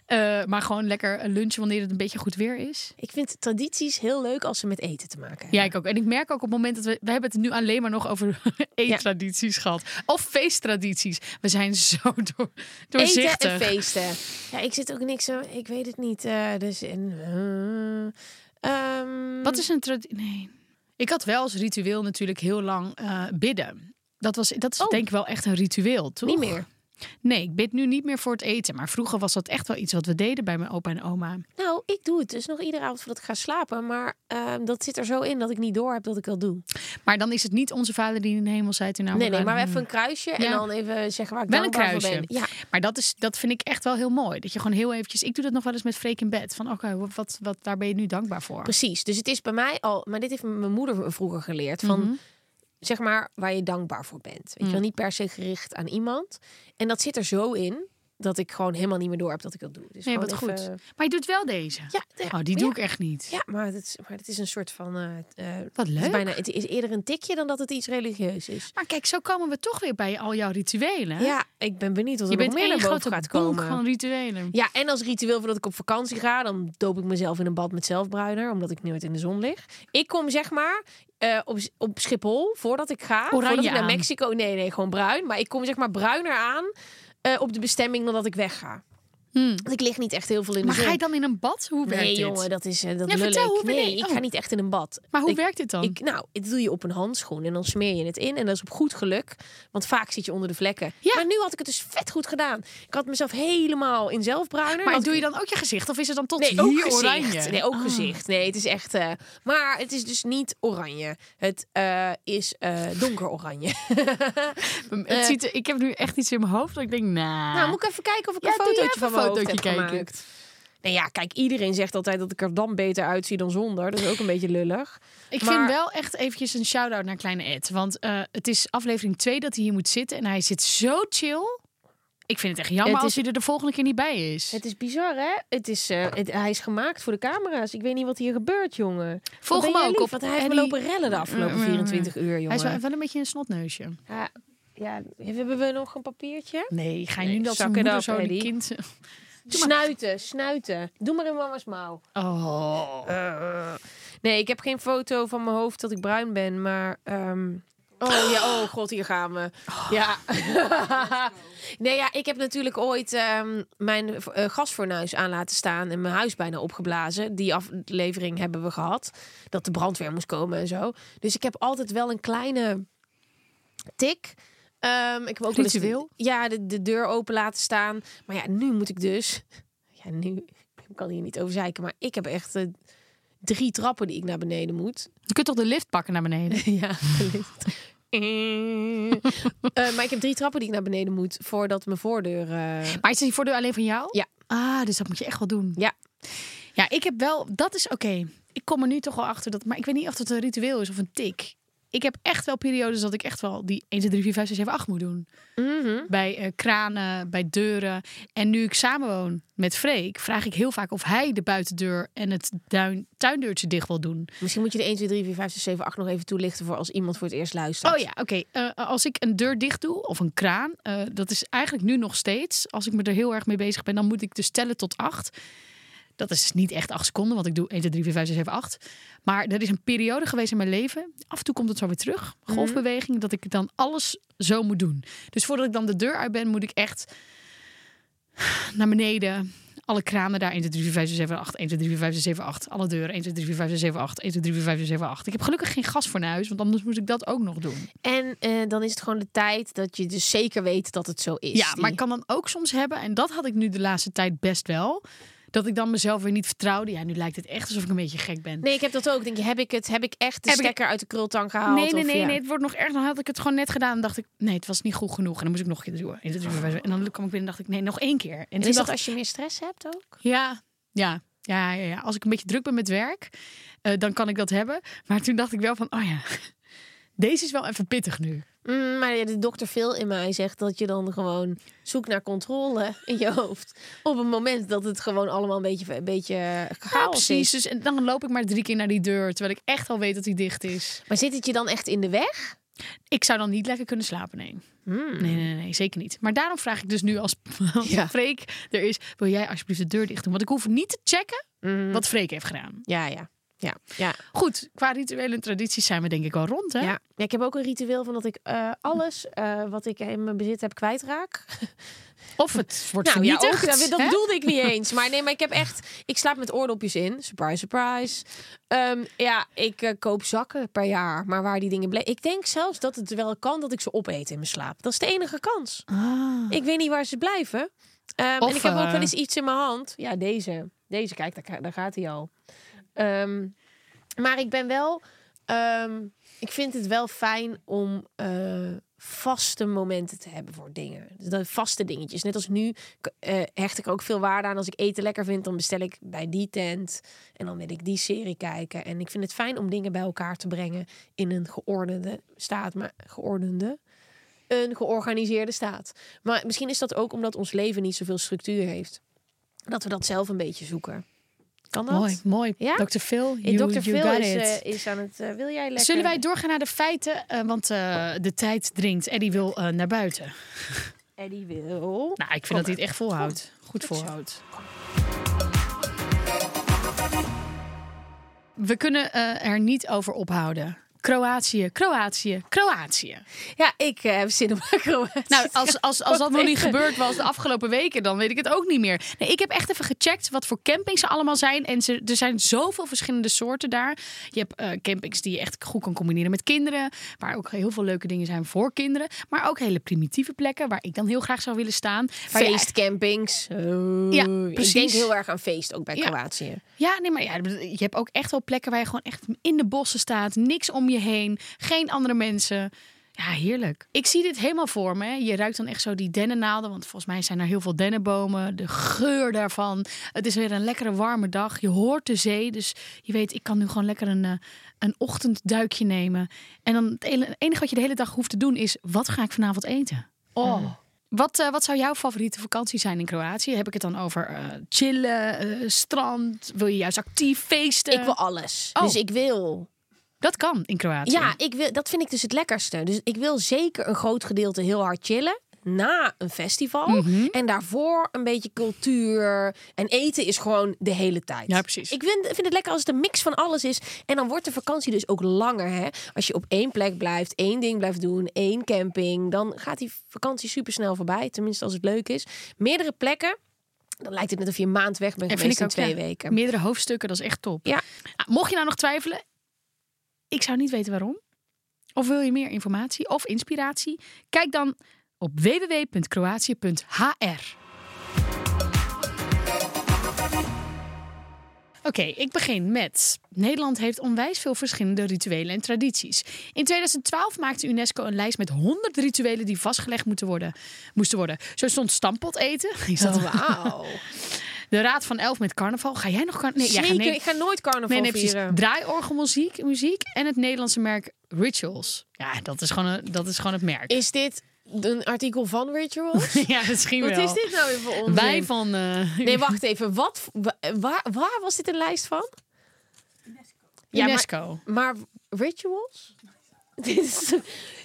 [SPEAKER 2] Eh, maar gewoon lekker een lunchen wanneer het een beetje goed weer is.
[SPEAKER 3] Ik vind tradities heel leuk als ze met eten te maken hebben.
[SPEAKER 2] Ja, ik ook. En ik merk ook op het moment dat we... We hebben het nu alleen maar nog over eettradities gehad. Of feesttradities. We zijn zo door,
[SPEAKER 3] Eten
[SPEAKER 2] doorzichtig.
[SPEAKER 3] en feesten. Ja, ik zit ook niks. eh, Ik weet het niet. eh, dus in. eh, ehm,
[SPEAKER 2] Wat is een traditie? Nee. Ik had wel als ritueel natuurlijk heel lang eh, bidden. Dat, was, dat is
[SPEAKER 3] Oh.
[SPEAKER 2] denk ik wel echt een ritueel, toch?
[SPEAKER 3] Niet meer.
[SPEAKER 2] Nee, ik bid nu niet meer voor het eten. Maar vroeger was dat echt wel iets wat we deden bij mijn opa en oma.
[SPEAKER 3] Nou, ik doe het dus nog iedere avond voordat ik ga slapen. Maar ehm, dat zit er zo in dat ik niet door heb dat ik dat doe.
[SPEAKER 2] Maar dan is het niet onze vader die in de hemel zijt. uw naam
[SPEAKER 3] nee, nee,
[SPEAKER 2] wordt
[SPEAKER 3] maar
[SPEAKER 2] aan-
[SPEAKER 3] even een kruisje en
[SPEAKER 2] eh, hmm. Ja.
[SPEAKER 3] dan even zeggen waar ik
[SPEAKER 2] Wel een
[SPEAKER 3] dankbaar voor
[SPEAKER 2] kruisje.
[SPEAKER 3] ben. Ja,
[SPEAKER 2] Maar dat, is, dat vind ik echt wel heel mooi. Dat je gewoon heel eventjes... Ik doe dat nog wel eens met Freek in bed. Van oké, wat, wat, daar ben je nu dankbaar voor?
[SPEAKER 3] precies. Dus het is bij mij al. Maar dit heeft mijn moeder vroeger geleerd. Van
[SPEAKER 2] Mhm.
[SPEAKER 3] zeg maar waar je dankbaar voor bent. Weet je wel, niet per se gericht aan iemand. En dat zit er zo in dat ik gewoon helemaal niet meer door heb dat ik dat doe. Dus
[SPEAKER 2] Nee,
[SPEAKER 3] gewoon
[SPEAKER 2] wat
[SPEAKER 3] even-
[SPEAKER 2] goed. Maar je doet wel deze.
[SPEAKER 3] Ja, ja,
[SPEAKER 2] oh, die
[SPEAKER 3] ja.
[SPEAKER 2] doe ik echt niet.
[SPEAKER 3] Ja, maar het is, maar het is een soort van. eh, eh,
[SPEAKER 2] Wat
[SPEAKER 3] het is
[SPEAKER 2] leuk.
[SPEAKER 3] bijna, het is eerder een tikje dan dat het iets religieus is.
[SPEAKER 2] Maar kijk, zo komen we toch weer bij al jouw rituelen.
[SPEAKER 3] Ja, ik ben benieuwd wat er
[SPEAKER 2] Je
[SPEAKER 3] nog
[SPEAKER 2] bent
[SPEAKER 3] meer
[SPEAKER 2] één
[SPEAKER 3] naar boven
[SPEAKER 2] grote
[SPEAKER 3] gaat
[SPEAKER 2] bonk
[SPEAKER 3] komen.
[SPEAKER 2] van rituelen.
[SPEAKER 3] Ja, en als ritueel voordat ik op vakantie ga, dan doop ik mezelf in een bad met zelfbruiner, omdat ik nooit in de zon lig. Ik kom zeg maar eh, op, op Schiphol voordat ik ga,
[SPEAKER 2] Oranje
[SPEAKER 3] voordat ik naar
[SPEAKER 2] aan.
[SPEAKER 3] Mexico. Nee, nee, gewoon bruin. Maar ik kom zeg maar bruiner aan eh, op de bestemming dan dat ik wegga.
[SPEAKER 2] Hmm.
[SPEAKER 3] Want ik lig niet echt heel veel in de
[SPEAKER 2] Maar
[SPEAKER 3] zon.
[SPEAKER 2] ga je dan in een bad? Hoe werkt
[SPEAKER 3] Nee,
[SPEAKER 2] dit?
[SPEAKER 3] jongen, dat is eh, dat
[SPEAKER 2] Ja,
[SPEAKER 3] lul
[SPEAKER 2] vertel,
[SPEAKER 3] ik.
[SPEAKER 2] hoe ben
[SPEAKER 3] Nee,
[SPEAKER 2] je-
[SPEAKER 3] ik
[SPEAKER 2] oh.
[SPEAKER 3] ga niet echt in een bad.
[SPEAKER 2] Maar hoe
[SPEAKER 3] Ik-
[SPEAKER 2] werkt dit dan?
[SPEAKER 3] Ik, nou, dit doe je op een handschoen en dan smeer je het in. En dat is op goed geluk, want vaak zit je onder de vlekken.
[SPEAKER 2] Ja.
[SPEAKER 3] Maar nu had ik het dus vet goed gedaan. Ik had mezelf helemaal in zelfbruiner.
[SPEAKER 2] maar
[SPEAKER 3] Had
[SPEAKER 2] doe
[SPEAKER 3] ik-
[SPEAKER 2] je dan ook je gezicht? Of is het dan tot
[SPEAKER 3] Nee,
[SPEAKER 2] hier
[SPEAKER 3] ook gezicht.
[SPEAKER 2] oranje?
[SPEAKER 3] Nee, ook
[SPEAKER 2] Ah.
[SPEAKER 3] gezicht. Nee, het is echt... eh, maar het is dus niet oranje. Het eh, is eh, donker oranje.
[SPEAKER 2] Het ziet, er- ik heb nu echt iets in mijn hoofd dat ik denk, nah.
[SPEAKER 3] eh, nou, moet ik even kijken of ik
[SPEAKER 2] Ah. Ja,
[SPEAKER 3] een
[SPEAKER 2] doe jij
[SPEAKER 3] fotootje
[SPEAKER 2] even
[SPEAKER 3] van mijn
[SPEAKER 2] een
[SPEAKER 3] hoofd heb
[SPEAKER 2] fotootje kijken.
[SPEAKER 3] gemaakt. Nou ja, kijk, iedereen zegt altijd dat ik er dan beter uitzie dan zonder. Dat is ook een beetje lullig.
[SPEAKER 2] ik
[SPEAKER 3] maar-
[SPEAKER 2] vind wel echt eventjes een shout-out naar Kleine Ed. Want eh, het is aflevering 2 dat hij hier moet zitten. En hij zit zo chill. Ik vind het echt jammer
[SPEAKER 3] Het
[SPEAKER 2] als
[SPEAKER 3] is-
[SPEAKER 2] hij er de volgende keer niet bij is.
[SPEAKER 3] Het is bizar, hè? Het is, eh, het, hij is gemaakt voor de camera's. Ik weet niet wat hier gebeurt, jongen.
[SPEAKER 2] Volg
[SPEAKER 3] Wat ben
[SPEAKER 2] hem ook
[SPEAKER 3] jij lief,
[SPEAKER 2] op
[SPEAKER 3] Want hij heeft me
[SPEAKER 2] Eddie-
[SPEAKER 3] lopen rellen de afgelopen
[SPEAKER 2] Ja, ja, ja.
[SPEAKER 3] 24 uur,
[SPEAKER 2] Mm, hij is wel,
[SPEAKER 3] jongen.
[SPEAKER 2] wel een beetje een snotneusje.
[SPEAKER 3] Ja, ja, hebben we nog een papiertje?
[SPEAKER 2] Nee, ga je
[SPEAKER 3] Nee,
[SPEAKER 2] nu dat zijn
[SPEAKER 3] zak it
[SPEAKER 2] moeder
[SPEAKER 3] up,
[SPEAKER 2] zo die
[SPEAKER 3] Eddie.
[SPEAKER 2] kind...
[SPEAKER 3] Snuiten, snuiten. Doe maar in mama's mouw.
[SPEAKER 2] Oh.
[SPEAKER 3] Eh. Nee, ik heb geen foto van mijn hoofd dat ik bruin ben, maar... ehm, Oh ja, oh god, hier gaan we. Ja. nee, ja, ik heb natuurlijk ooit ehm, mijn eh, gasfornuis aan laten staan en mijn huis bijna opgeblazen. Die aflevering hebben we gehad. Dat de brandweer moest komen en zo. Dus ik heb altijd wel een kleine tik. Ehm, ik heb ook wel eens de-
[SPEAKER 2] Ritueel?
[SPEAKER 3] ja, de, de deur open laten staan. Maar ja, nu moet ik dus. Ja, nu ik kan hier niet over zeiken, maar ik heb echt eh, drie trappen die ik naar beneden moet.
[SPEAKER 2] Je kunt toch de lift pakken naar beneden?
[SPEAKER 3] Ja, gelicht. Eh, maar ik heb drie trappen die ik naar beneden moet voordat mijn voordeur. eh,
[SPEAKER 2] Maar is die voordeur alleen van jou?
[SPEAKER 3] Ja.
[SPEAKER 2] Ah, dus dat moet je echt wel doen.
[SPEAKER 3] Ja.
[SPEAKER 2] Ja, ik heb wel... Dat is oké. Ik kom er nu toch wel achter. dat, Maar ik weet niet of het een ritueel is of een tik. Ik heb echt wel periodes dat ik echt wel die 1, 2, 3, 4, 5, 6, 7, 8 moet doen.
[SPEAKER 3] Mhm.
[SPEAKER 2] Bij eh, kranen, bij deuren. En nu ik samenwoon met Freek, vraag ik heel vaak of hij de buitendeur en het duin, tuindeurtje dicht wil doen.
[SPEAKER 3] Misschien moet je de 1, 2, 3, 4, 5, 6, 7, 8 nog even toelichten voor als iemand voor het eerst luistert.
[SPEAKER 2] Oh ja, oké. Eh, als ik een deur dicht doe of een kraan, eh, dat is eigenlijk nu nog steeds. Als ik me er heel erg mee bezig ben, dan moet ik dus tellen tot acht. Dat is dus niet echt acht seconden, want ik doe 1, 2, 3, 4, 5, 6, 7, 8. Maar er is een periode geweest in mijn leven. Af en toe komt het zo weer terug. Golfbeweging, dat ik dan alles zo moet doen. Dus voordat ik dan de deur uit ben, moet ik echt naar beneden. Alle kramen daar, 1, 2, 3, 4, 5, 6, 7, 8. 1, 2, 3, 4, 5, 6, 7, 8. Alle deuren, 1, 2, 3, 4, 5, 6, 7, 8. 1, 2, 3, 4, 5, 6, 7, 8. Ik heb gelukkig geen gas voor naar huis, want anders moest ik dat ook nog doen.
[SPEAKER 3] En eh, dan is het gewoon de tijd dat je dus zeker weet dat het zo is.
[SPEAKER 2] Ja,
[SPEAKER 3] Die-
[SPEAKER 2] maar ik kan dan ook soms hebben, en dat had ik nu de laatste tijd best wel, dat ik dan mezelf weer niet vertrouwde. Ja, nu lijkt het echt alsof ik een beetje gek ben.
[SPEAKER 3] Nee, ik heb dat ook. Ik Denk je, heb ik het? Heb ik echt de
[SPEAKER 2] Heb ik-
[SPEAKER 3] stekker uit de krultang gehaald?
[SPEAKER 2] nee, nee,
[SPEAKER 3] Of
[SPEAKER 2] nee,
[SPEAKER 3] ja.
[SPEAKER 2] nee, het wordt nog erg. Dan had ik het gewoon net gedaan en dacht ik, nee, het was niet goed genoeg. En dan moest ik nog een keer doen. En dat- En dan kwam ik binnen en dacht ik, nee, nog één keer. En toen
[SPEAKER 3] En is dat
[SPEAKER 2] dacht ik,
[SPEAKER 3] als je meer stress hebt ook?
[SPEAKER 2] ja, ja, ja, ja, ja. Als ik een beetje druk ben met werk, eh, dan kan ik dat hebben. Maar toen dacht ik wel van, oh ja, deze is wel even pittig nu.
[SPEAKER 3] Mm, maar ja, de dokter Phil in mij zegt dat je dan gewoon zoekt naar controle in je hoofd. Op het moment dat het gewoon allemaal een beetje, een beetje chaos
[SPEAKER 2] Ja, precies.
[SPEAKER 3] is.
[SPEAKER 2] Dus en dan loop ik maar drie keer naar die deur, terwijl ik echt al weet dat die dicht is.
[SPEAKER 3] Maar zit het je dan echt in de weg?
[SPEAKER 2] Ik zou dan niet lekker kunnen slapen, nee. Nee, nee, nee, zeker niet. Maar daarom vraag ik dus nu als, als
[SPEAKER 3] Hmm. Ja.
[SPEAKER 2] Freek er is... wil jij alsjeblieft de deur dicht doen? Want ik hoef niet te checken
[SPEAKER 3] Mm.
[SPEAKER 2] wat Freek heeft gedaan.
[SPEAKER 3] Ja, ja. Ja, ja,
[SPEAKER 2] Goed, qua rituelen en tradities zijn we denk ik wel rond, hè?
[SPEAKER 3] ja. ja, ik heb ook een ritueel van dat ik eh, alles eh, wat ik in mijn bezit heb kwijtraak.
[SPEAKER 2] Of het wordt
[SPEAKER 3] Nou, ja,
[SPEAKER 2] vernietigd.
[SPEAKER 3] ook, dat dat
[SPEAKER 2] hè?
[SPEAKER 3] bedoelde ik niet eens. Maar nee, maar ik heb echt... Ik slaap met oordopjes in. Surprise, surprise. Ehm, ja, ik eh, koop zakken per jaar. Maar waar die dingen bleven... Ik denk zelfs dat het wel kan dat ik ze opeet in mijn slaap. Dat is de enige kans.
[SPEAKER 2] Ah.
[SPEAKER 3] Ik weet niet waar ze blijven. Ehm,
[SPEAKER 2] Of,
[SPEAKER 3] en ik heb ook
[SPEAKER 2] eh,
[SPEAKER 3] wel eens iets in mijn hand. Ja, deze. Deze, kijk, daar, ga- daar gaat hij al. Ehm, maar ik ben wel... ehm, ik vind het wel fijn om eh, vaste momenten te hebben voor dingen. Dus dat vaste dingetjes. Net als nu k- eh, hecht ik er ook veel waarde aan. Als ik eten lekker vind, dan bestel ik bij die tent. En dan wil ik die serie kijken. En ik vind het fijn om dingen bij elkaar te brengen in een geordende staat. Maar geordende een georganiseerde staat. Maar misschien is dat ook omdat ons leven niet zoveel structuur heeft. Dat we dat zelf een beetje zoeken. Kan dat?
[SPEAKER 2] Mooi, mooi.
[SPEAKER 3] Ja?
[SPEAKER 2] Dr. Phil,
[SPEAKER 3] Hey,
[SPEAKER 2] you,
[SPEAKER 3] Dr.
[SPEAKER 2] you
[SPEAKER 3] Phil
[SPEAKER 2] got
[SPEAKER 3] is,
[SPEAKER 2] it.
[SPEAKER 3] eh, is aan het... eh, wil jij lekker...
[SPEAKER 2] Zullen wij doorgaan naar de feiten? Eh, want eh, de tijd dringt. Eddie wil eh, naar buiten.
[SPEAKER 3] Eddie wil...
[SPEAKER 2] Nou, ik vind dat hij het echt volhoudt. Goed volhoudt. We kunnen eh, er niet over ophouden. Kroatië, Kroatië, Kroatië.
[SPEAKER 3] Ja, ik eh, heb zin om Kroatië.
[SPEAKER 2] Nou, als, als, als dat nog niet
[SPEAKER 3] even.
[SPEAKER 2] gebeurd was de afgelopen weken, dan weet ik het ook niet meer. Nee, ik heb echt even gecheckt wat voor campings er allemaal zijn. En ze, er zijn zoveel verschillende soorten daar. Je hebt eh, campings die je echt goed kan combineren met kinderen. Waar ook heel veel leuke dingen zijn voor kinderen. Maar ook hele primitieve plekken waar ik dan heel graag zou willen staan. Waar je
[SPEAKER 3] feestcampings.
[SPEAKER 2] Ja,
[SPEAKER 3] Ik
[SPEAKER 2] precies.
[SPEAKER 3] denk heel erg aan feest, ook bij
[SPEAKER 2] Ja.
[SPEAKER 3] Kroatië.
[SPEAKER 2] Ja, nee, maar ja, je hebt ook echt wel plekken waar je gewoon echt in de bossen staat. Niks om je heen, geen andere mensen. Ja, heerlijk. Ik zie dit helemaal voor me. hè. Je ruikt dan echt zo die dennennaalden. Want volgens mij zijn er heel veel dennenbomen. De geur daarvan. Het is weer een lekkere warme dag. Je hoort de zee. Dus je weet, ik kan nu gewoon lekker een, eh, een ochtendduikje nemen. En dan het ele- enige wat je de hele dag hoeft te doen is... wat ga ik vanavond eten? Oh. Wat, eh, wat zou jouw favoriete vakantie zijn in Kroatië? Heb ik het dan over eh, chillen, eh, strand? Wil je juist actief feesten?
[SPEAKER 3] Ik wil alles.
[SPEAKER 2] Oh.
[SPEAKER 3] Dus ik wil
[SPEAKER 2] Dat kan in Kroatië.
[SPEAKER 3] Ja, ik wil, dat vind ik dus het lekkerste. Dus ik wil zeker een groot gedeelte heel hard chillen. na een festival.
[SPEAKER 2] Mhm.
[SPEAKER 3] En daarvoor een beetje cultuur. En eten is gewoon de hele tijd.
[SPEAKER 2] Ja, precies.
[SPEAKER 3] Ik vind, vind het lekker als het een mix van alles is. En dan wordt de vakantie dus ook langer. Hè? Als je op één plek blijft, één ding blijft doen, één camping. Dan gaat die vakantie super snel voorbij. Tenminste, als het leuk is. Meerdere plekken. Dan lijkt het net of je een maand weg bent
[SPEAKER 2] En
[SPEAKER 3] geweest
[SPEAKER 2] vind ik
[SPEAKER 3] in
[SPEAKER 2] ook
[SPEAKER 3] twee
[SPEAKER 2] ja,
[SPEAKER 3] weken.
[SPEAKER 2] Meerdere hoofdstukken, dat is echt top.
[SPEAKER 3] Ja.
[SPEAKER 2] Ah, Mocht je nou nog twijfelen, ik zou niet weten waarom. Of wil je meer informatie of inspiratie? Kijk dan op www.kroatië.hr. Oké, ik begin met. Nederland heeft onwijs veel verschillende rituelen en tradities. In 2012 maakte UNESCO een lijst met 100 rituelen die vastgelegd moeten worden, moesten worden. Zo stond stampot eten. Is
[SPEAKER 3] Oh.
[SPEAKER 2] dat wel-
[SPEAKER 3] Wauw.
[SPEAKER 2] De Raad van Elf met carnaval. Ga jij nog carnaval? jij gaat
[SPEAKER 3] Zeker,
[SPEAKER 2] nee.
[SPEAKER 3] ik ga nooit carnaval
[SPEAKER 2] Nee, nee, precies.
[SPEAKER 3] vieren.
[SPEAKER 2] Draaiorgelmuziek muziek en het Nederlandse merk Rituals. Ja, dat is gewoon, een, dat is gewoon het merk.
[SPEAKER 3] Is dit een artikel van Rituals?
[SPEAKER 2] ja, misschien
[SPEAKER 3] Wat
[SPEAKER 2] wel.
[SPEAKER 3] is dit nou weer voor onzin?
[SPEAKER 2] Wij van... eh,
[SPEAKER 3] Nee, wacht even. Wat, v- wa- waar, waar was dit een lijst van? Ja, maar-
[SPEAKER 2] UNESCO.
[SPEAKER 3] Maar Rituals? Dit is-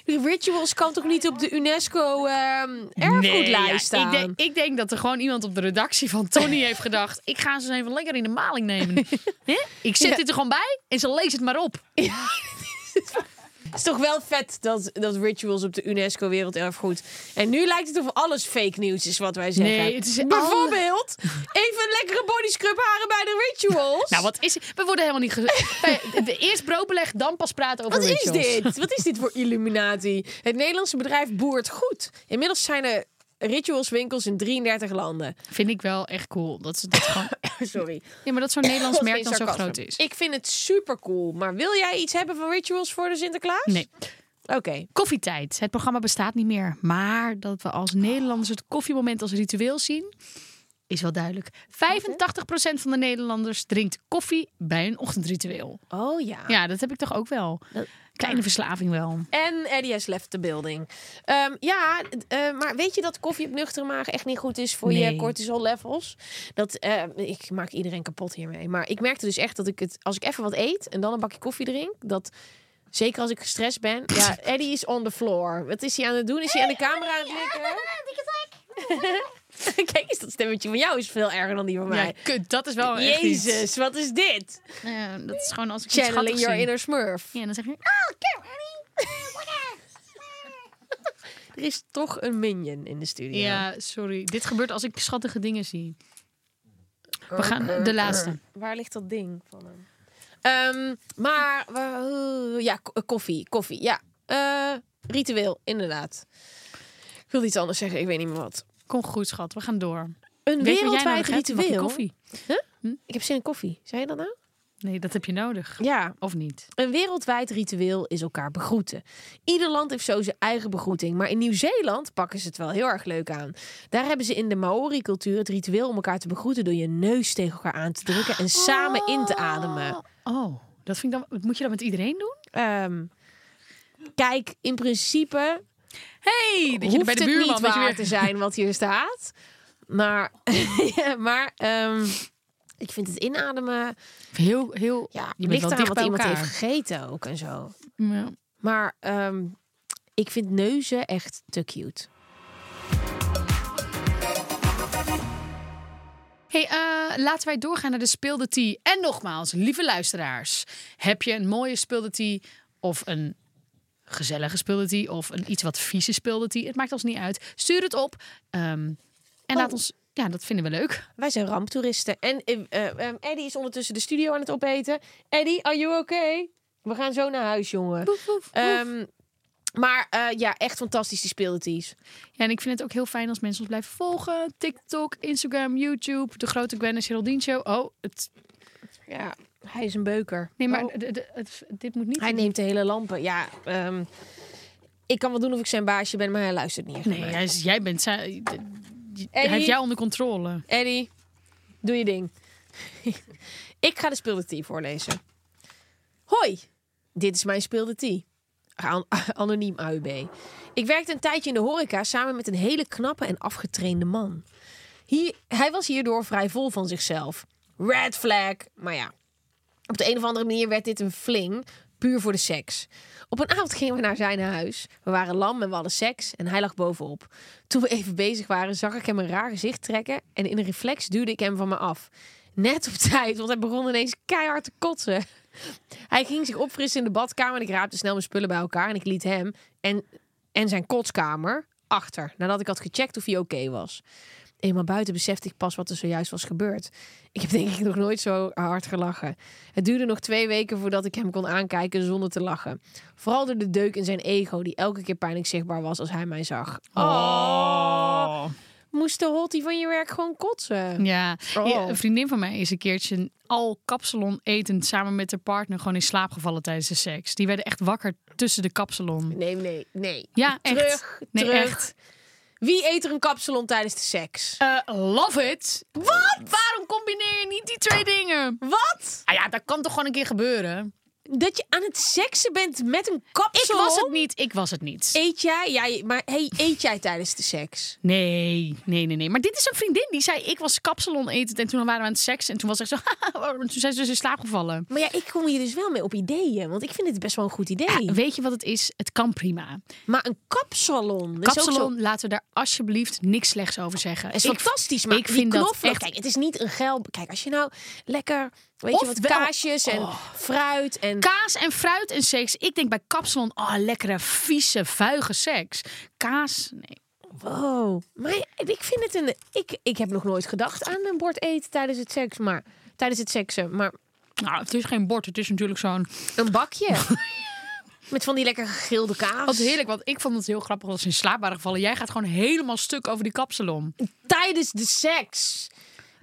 [SPEAKER 3] Rituals kan toch niet op de UNESCO ehm
[SPEAKER 2] Nee,
[SPEAKER 3] erfgoedlijst
[SPEAKER 2] ja,
[SPEAKER 3] staan?
[SPEAKER 2] ik, denk, ik denk dat er gewoon iemand op de redactie van Tony heeft gedacht... ik ga ze eens even lekker in de maling nemen. Hè? ik zet
[SPEAKER 3] Ja.
[SPEAKER 2] dit er gewoon bij en ze leest het maar op.
[SPEAKER 3] Het is toch wel vet dat, dat Rituals op de UNESCO werelderfgoed... En nu lijkt het of alles fake nieuws is wat wij zeggen.
[SPEAKER 2] Nee, het is al-
[SPEAKER 3] Bijvoorbeeld even lekkere body scrub haren bij de Rituals.
[SPEAKER 2] Nou, wat is... We worden helemaal niet... ge- Wij- de- Eerst broodbeleg, dan pas praten over
[SPEAKER 3] Wat is
[SPEAKER 2] Rituals.
[SPEAKER 3] dit? Wat is dit voor illuminatie? Het Nederlandse bedrijf boert goed. Inmiddels zijn er ritualswinkels in 33 landen.
[SPEAKER 2] Vind ik wel echt cool. Dat ze dat gewoon...
[SPEAKER 3] Oh, Sorry.
[SPEAKER 2] Ja, maar dat zo'n Nederlands
[SPEAKER 3] Dat is
[SPEAKER 2] merk
[SPEAKER 3] geen
[SPEAKER 2] dan zo
[SPEAKER 3] sarcasme.
[SPEAKER 2] groot is.
[SPEAKER 3] Ik vind het super cool. Maar wil jij iets hebben van rituals voor de Sinterklaas?
[SPEAKER 2] Nee.
[SPEAKER 3] Oké.
[SPEAKER 2] Koffietijd. Het programma bestaat niet meer. Maar dat we als Nederlanders het koffiemoment als ritueel zien, is wel duidelijk. 85% van de Nederlanders drinkt koffie bij een ochtendritueel.
[SPEAKER 3] Oh ja.
[SPEAKER 2] Ja, dat heb ik toch ook wel. Kleine
[SPEAKER 3] Ah.
[SPEAKER 2] verslaving wel.
[SPEAKER 3] En Eddie has left the building. Ehm, ja, d- eh, maar weet je dat koffie op nuchtere maag echt niet goed is voor
[SPEAKER 2] Nee.
[SPEAKER 3] je cortisol levels? Dat, eh, ik maak iedereen kapot hiermee. Maar ik merkte dus echt dat ik het, als ik even wat eet en dan een bakje koffie drink, dat zeker als ik gestrest ben, ja, Eddie is on the floor. Wat is hij aan het doen? Is hij aan de camera aan het likken? Kijk eens, dat stemmetje van jou is veel erger dan die van
[SPEAKER 2] Ja,
[SPEAKER 3] mij.
[SPEAKER 2] kut, dat is wel echt iets.
[SPEAKER 3] Jezus, wat is dit?
[SPEAKER 2] Eh, dat is gewoon als ik iets
[SPEAKER 3] Channeling
[SPEAKER 2] schattigs
[SPEAKER 3] your
[SPEAKER 2] zie.
[SPEAKER 3] inner smurf.
[SPEAKER 2] Ja, dan zeg je...
[SPEAKER 3] Er is toch een minion in de studio.
[SPEAKER 2] Ja, sorry. Dit gebeurt als ik schattige dingen zie. We gaan de laatste.
[SPEAKER 3] Waar ligt dat ding van hem? Ehm, maar, wa- eh, ja, ko- eh, koffie, koffie, ja. Eh, ritueel, inderdaad. Ik wilde iets anders zeggen, ik weet niet meer wat.
[SPEAKER 2] Kom goed, schat. We gaan door.
[SPEAKER 3] Een
[SPEAKER 2] Weet je wat jij nodig
[SPEAKER 3] wereldwijd
[SPEAKER 2] hebt? Een bakje
[SPEAKER 3] ritueel.
[SPEAKER 2] koffie.
[SPEAKER 3] Ik heb zin in koffie, zei je dat nou?
[SPEAKER 2] Nee, dat heb je nodig.
[SPEAKER 3] Ja,
[SPEAKER 2] Of niet?
[SPEAKER 3] Een wereldwijd ritueel is elkaar begroeten. Ieder land heeft zo zijn eigen begroeting, maar in Nieuw-Zeeland pakken ze het wel heel erg leuk aan. Daar hebben ze in de Maori-cultuur het ritueel om elkaar te begroeten door je neus tegen elkaar aan te drukken en samen in te ademen.
[SPEAKER 2] Oh, dat vind ik dan. Moet je dat met iedereen doen?
[SPEAKER 3] Ehm, kijk, in principe
[SPEAKER 2] Hey, dat je
[SPEAKER 3] hoeft
[SPEAKER 2] bij de
[SPEAKER 3] het
[SPEAKER 2] buurman
[SPEAKER 3] niet
[SPEAKER 2] dat
[SPEAKER 3] waar
[SPEAKER 2] je weer-
[SPEAKER 3] te zijn wat hier staat. Maar, ja, maar ehm, ik vind het inademen...
[SPEAKER 2] Heel, heel.
[SPEAKER 3] Ja,
[SPEAKER 2] je bent
[SPEAKER 3] ligt
[SPEAKER 2] wel
[SPEAKER 3] eraan
[SPEAKER 2] dicht
[SPEAKER 3] wat
[SPEAKER 2] bij
[SPEAKER 3] iemand
[SPEAKER 2] elkaar.
[SPEAKER 3] heeft gegeten ook en zo.
[SPEAKER 2] Ja.
[SPEAKER 3] Maar ehm, ik vind neuzen echt te cute.
[SPEAKER 2] Hey, eh, laten wij doorgaan naar de speelde tea. En nogmaals, lieve luisteraars, heb je een mooie speelde tea of een gezellige speelde tea of een iets wat vieze speelde tea? Het maakt ons niet uit. Stuur het op ehm, en
[SPEAKER 3] Oh.
[SPEAKER 2] laat ons. Ja, dat vinden we leuk.
[SPEAKER 3] Wij zijn ramptoeristen. En eh, eh, ehm, Eddie is ondertussen de studio aan het opeten. Eddie, are you okay? We gaan zo naar huis, jongen. Ehm, maar eh, ja, echt fantastisch die speeldeties.
[SPEAKER 2] Ja, en ik vind het ook heel fijn als mensen ons blijven volgen. TikTok, Instagram, YouTube, de grote Gwen en Geraldine Show. Oh, het
[SPEAKER 3] Ja, hij is een beuker.
[SPEAKER 2] Nee, maar
[SPEAKER 3] Oh.
[SPEAKER 2] d- d- het- dit moet niet.
[SPEAKER 3] Hij neemt de hele lampen. Ja, ehm, ik kan wel doen of ik zijn baasje ben, maar hij luistert niet. echt
[SPEAKER 2] Nee,
[SPEAKER 3] naar mij.
[SPEAKER 2] hij is- jij bent. zij- d- j- Hij
[SPEAKER 3] Eddie?
[SPEAKER 2] heeft jou onder controle.
[SPEAKER 3] Eddie, doe je ding. ik ga de speelde tea voorlezen. Hoi, dit is mijn speelde tea. An- Anoniem AUB. Ik werkte een tijdje in de horeca samen met een hele knappe en afgetrainde man. Hier, hij was hierdoor vrij vol van zichzelf. Red flag, maar ja. Op de een of andere manier werd dit een fling. puur voor de seks. Op een avond gingen we naar zijn huis. We waren lam en we hadden seks en hij lag bovenop. Toen we even bezig waren, zag ik hem een raar gezicht trekken en in een reflex duwde ik hem van me af. Net op tijd, want hij begon ineens keihard te kotsen. Hij ging zich opfrissen in de badkamer en ik raapte snel mijn spullen bij elkaar en ik liet hem en, en zijn kotskamer achter, nadat ik had gecheckt of hij oké was. Eenmaal buiten besefte ik pas wat er zojuist was gebeurd. Ik heb denk ik nog nooit zo hard gelachen. Het duurde nog twee weken voordat ik hem kon aankijken zonder te lachen. Vooral door de deuk in zijn ego, die elke keer pijnlijk zichtbaar was als hij mij zag. Oh. Moest de hottie van je werk gewoon kotsen?
[SPEAKER 2] Ja,
[SPEAKER 3] Oh.
[SPEAKER 2] Ja, een vriendin van mij is een keertje al kapsalon etend samen met haar partner gewoon in slaap gevallen tijdens de seks. Die werden echt wakker tussen de kapsalon.
[SPEAKER 3] Nee, nee, nee.
[SPEAKER 2] Ja, echt.
[SPEAKER 3] Terug,
[SPEAKER 2] nee,
[SPEAKER 3] terug.
[SPEAKER 2] echt.
[SPEAKER 3] Wie eet er een kapsalon tijdens de seks?
[SPEAKER 2] Eh, love it. Wat? Waarom combineer je niet die twee dingen?
[SPEAKER 3] Wat?
[SPEAKER 2] Ah ja, dat kan toch gewoon een keer gebeuren?
[SPEAKER 3] Dat je aan het seksen bent met een
[SPEAKER 2] Ik
[SPEAKER 3] kapsalon?
[SPEAKER 2] was het niet, ik was het niet.
[SPEAKER 3] Eet jij? Ja, maar hey, eet jij tijdens de seks?
[SPEAKER 2] Nee, nee, nee, nee. Maar dit is een vriendin die zei: Ik was kapsalon etend en toen waren we aan het seks. En toen was echt zo. en toen zijn ze dus in slaap gevallen.
[SPEAKER 3] Maar ja, ik kom hier dus wel mee op ideeën. Want ik vind het best wel een goed idee.
[SPEAKER 2] Ja, weet je wat het is? Het kan prima.
[SPEAKER 3] maar een kapsalon. dat is ook
[SPEAKER 2] Kapsalon, laten we daar alsjeblieft niks slechts over zeggen.
[SPEAKER 3] zo- is fantastisch. Maar
[SPEAKER 2] ik
[SPEAKER 3] die
[SPEAKER 2] vind dat
[SPEAKER 3] knoflook,
[SPEAKER 2] echt-
[SPEAKER 3] Kijk, het is niet een gel. Kijk, als je nou lekker. Weet je
[SPEAKER 2] Of
[SPEAKER 3] wat?
[SPEAKER 2] wel- Oh.
[SPEAKER 3] Kaasjes en fruit en.
[SPEAKER 2] Kaas en fruit en seks. Ik denk bij kapsalon, oh, lekkere, vieze, vuige seks. Kaas, nee.
[SPEAKER 3] wow. Maar ik vind het een. Ik, ik heb nog nooit gedacht aan een bord eten tijdens het seks. Maar. Tijdens het seksen. Maar
[SPEAKER 2] Nou, het is geen bord, het is natuurlijk zo'n...
[SPEAKER 3] een bakje. Met van die lekker gegrilde kaas.
[SPEAKER 2] Wat heerlijk, want ik vond het heel grappig dat ze in slaap waren gevallen. Jij gaat gewoon helemaal stuk over die kapsalon.
[SPEAKER 3] tijdens de seks.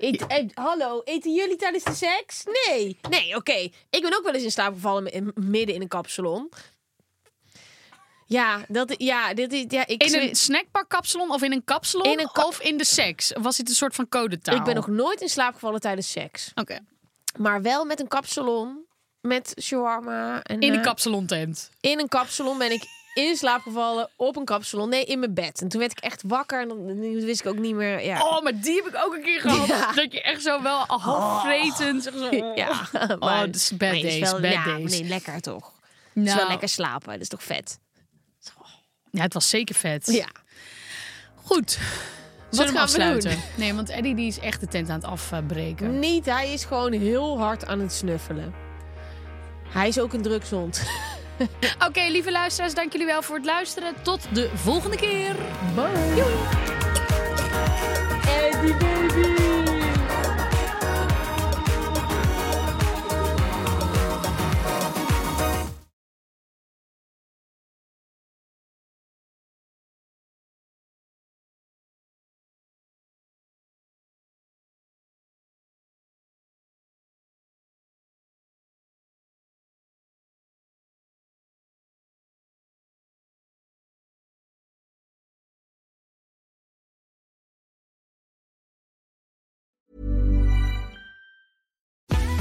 [SPEAKER 3] Ik, eh, hallo, eten jullie tijdens de seks? Nee. Nee, oké. Ik ben ook wel eens in slaap gevallen mi- in- midden in een kapsalon. Ja, dat, ja, dit, is- ja ik,
[SPEAKER 2] In een snackbar kapsalon of in een kapsalon
[SPEAKER 3] In een kap-
[SPEAKER 2] of in de seks? Was dit een soort van codetaal?
[SPEAKER 3] ik ben nog nooit in slaap gevallen tijdens seks.
[SPEAKER 2] Oké,
[SPEAKER 3] Maar wel met een kapsalon, met shawarma. En,
[SPEAKER 2] in een
[SPEAKER 3] eh,
[SPEAKER 2] kapsalon tent.
[SPEAKER 3] in een kapsalon ben ik in slaap gevallen op een kapsalon. Nee, in mijn bed. En toen werd ik echt wakker en dan, dan wist ik ook niet meer... Ja.
[SPEAKER 2] Oh, maar die heb ik ook een keer gehad. Dat je echt zo wel half vretend... zeg zo,
[SPEAKER 3] Oh. Ja,
[SPEAKER 2] Oh, dat is bad
[SPEAKER 3] maar het is
[SPEAKER 2] days,
[SPEAKER 3] wel-
[SPEAKER 2] bad
[SPEAKER 3] ja, maar
[SPEAKER 2] days.
[SPEAKER 3] Nee, lekker toch? Het is
[SPEAKER 2] Nou.
[SPEAKER 3] Dus wel lekker slapen, dat is toch vet?
[SPEAKER 2] Ja, het was zeker vet.
[SPEAKER 3] Ja.
[SPEAKER 2] Goed. Wat gaan
[SPEAKER 3] gaan we doen?
[SPEAKER 2] afsluiten? Nee, want Eddie die is echt de tent aan het afbreken.
[SPEAKER 3] Niet, hij is gewoon heel hard aan het snuffelen. Hij is ook een drugshond.
[SPEAKER 2] Oké, lieve luisteraars, dank jullie wel voor het luisteren. Tot de volgende keer.
[SPEAKER 3] Bye. Eddie baby.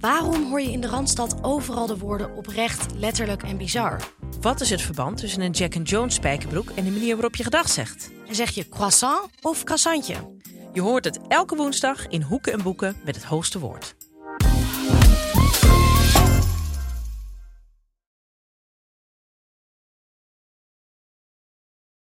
[SPEAKER 5] Waarom hoor je in de Randstad overal de woorden oprecht, letterlijk en bizar?
[SPEAKER 6] Wat is het verband tussen een Jack and Jones spijkerbroek en de manier waarop je gedag zegt?
[SPEAKER 5] En zeg je croissant of croissantje?
[SPEAKER 6] Je hoort het elke woensdag in Hoeken en Boeken met het hoogste woord.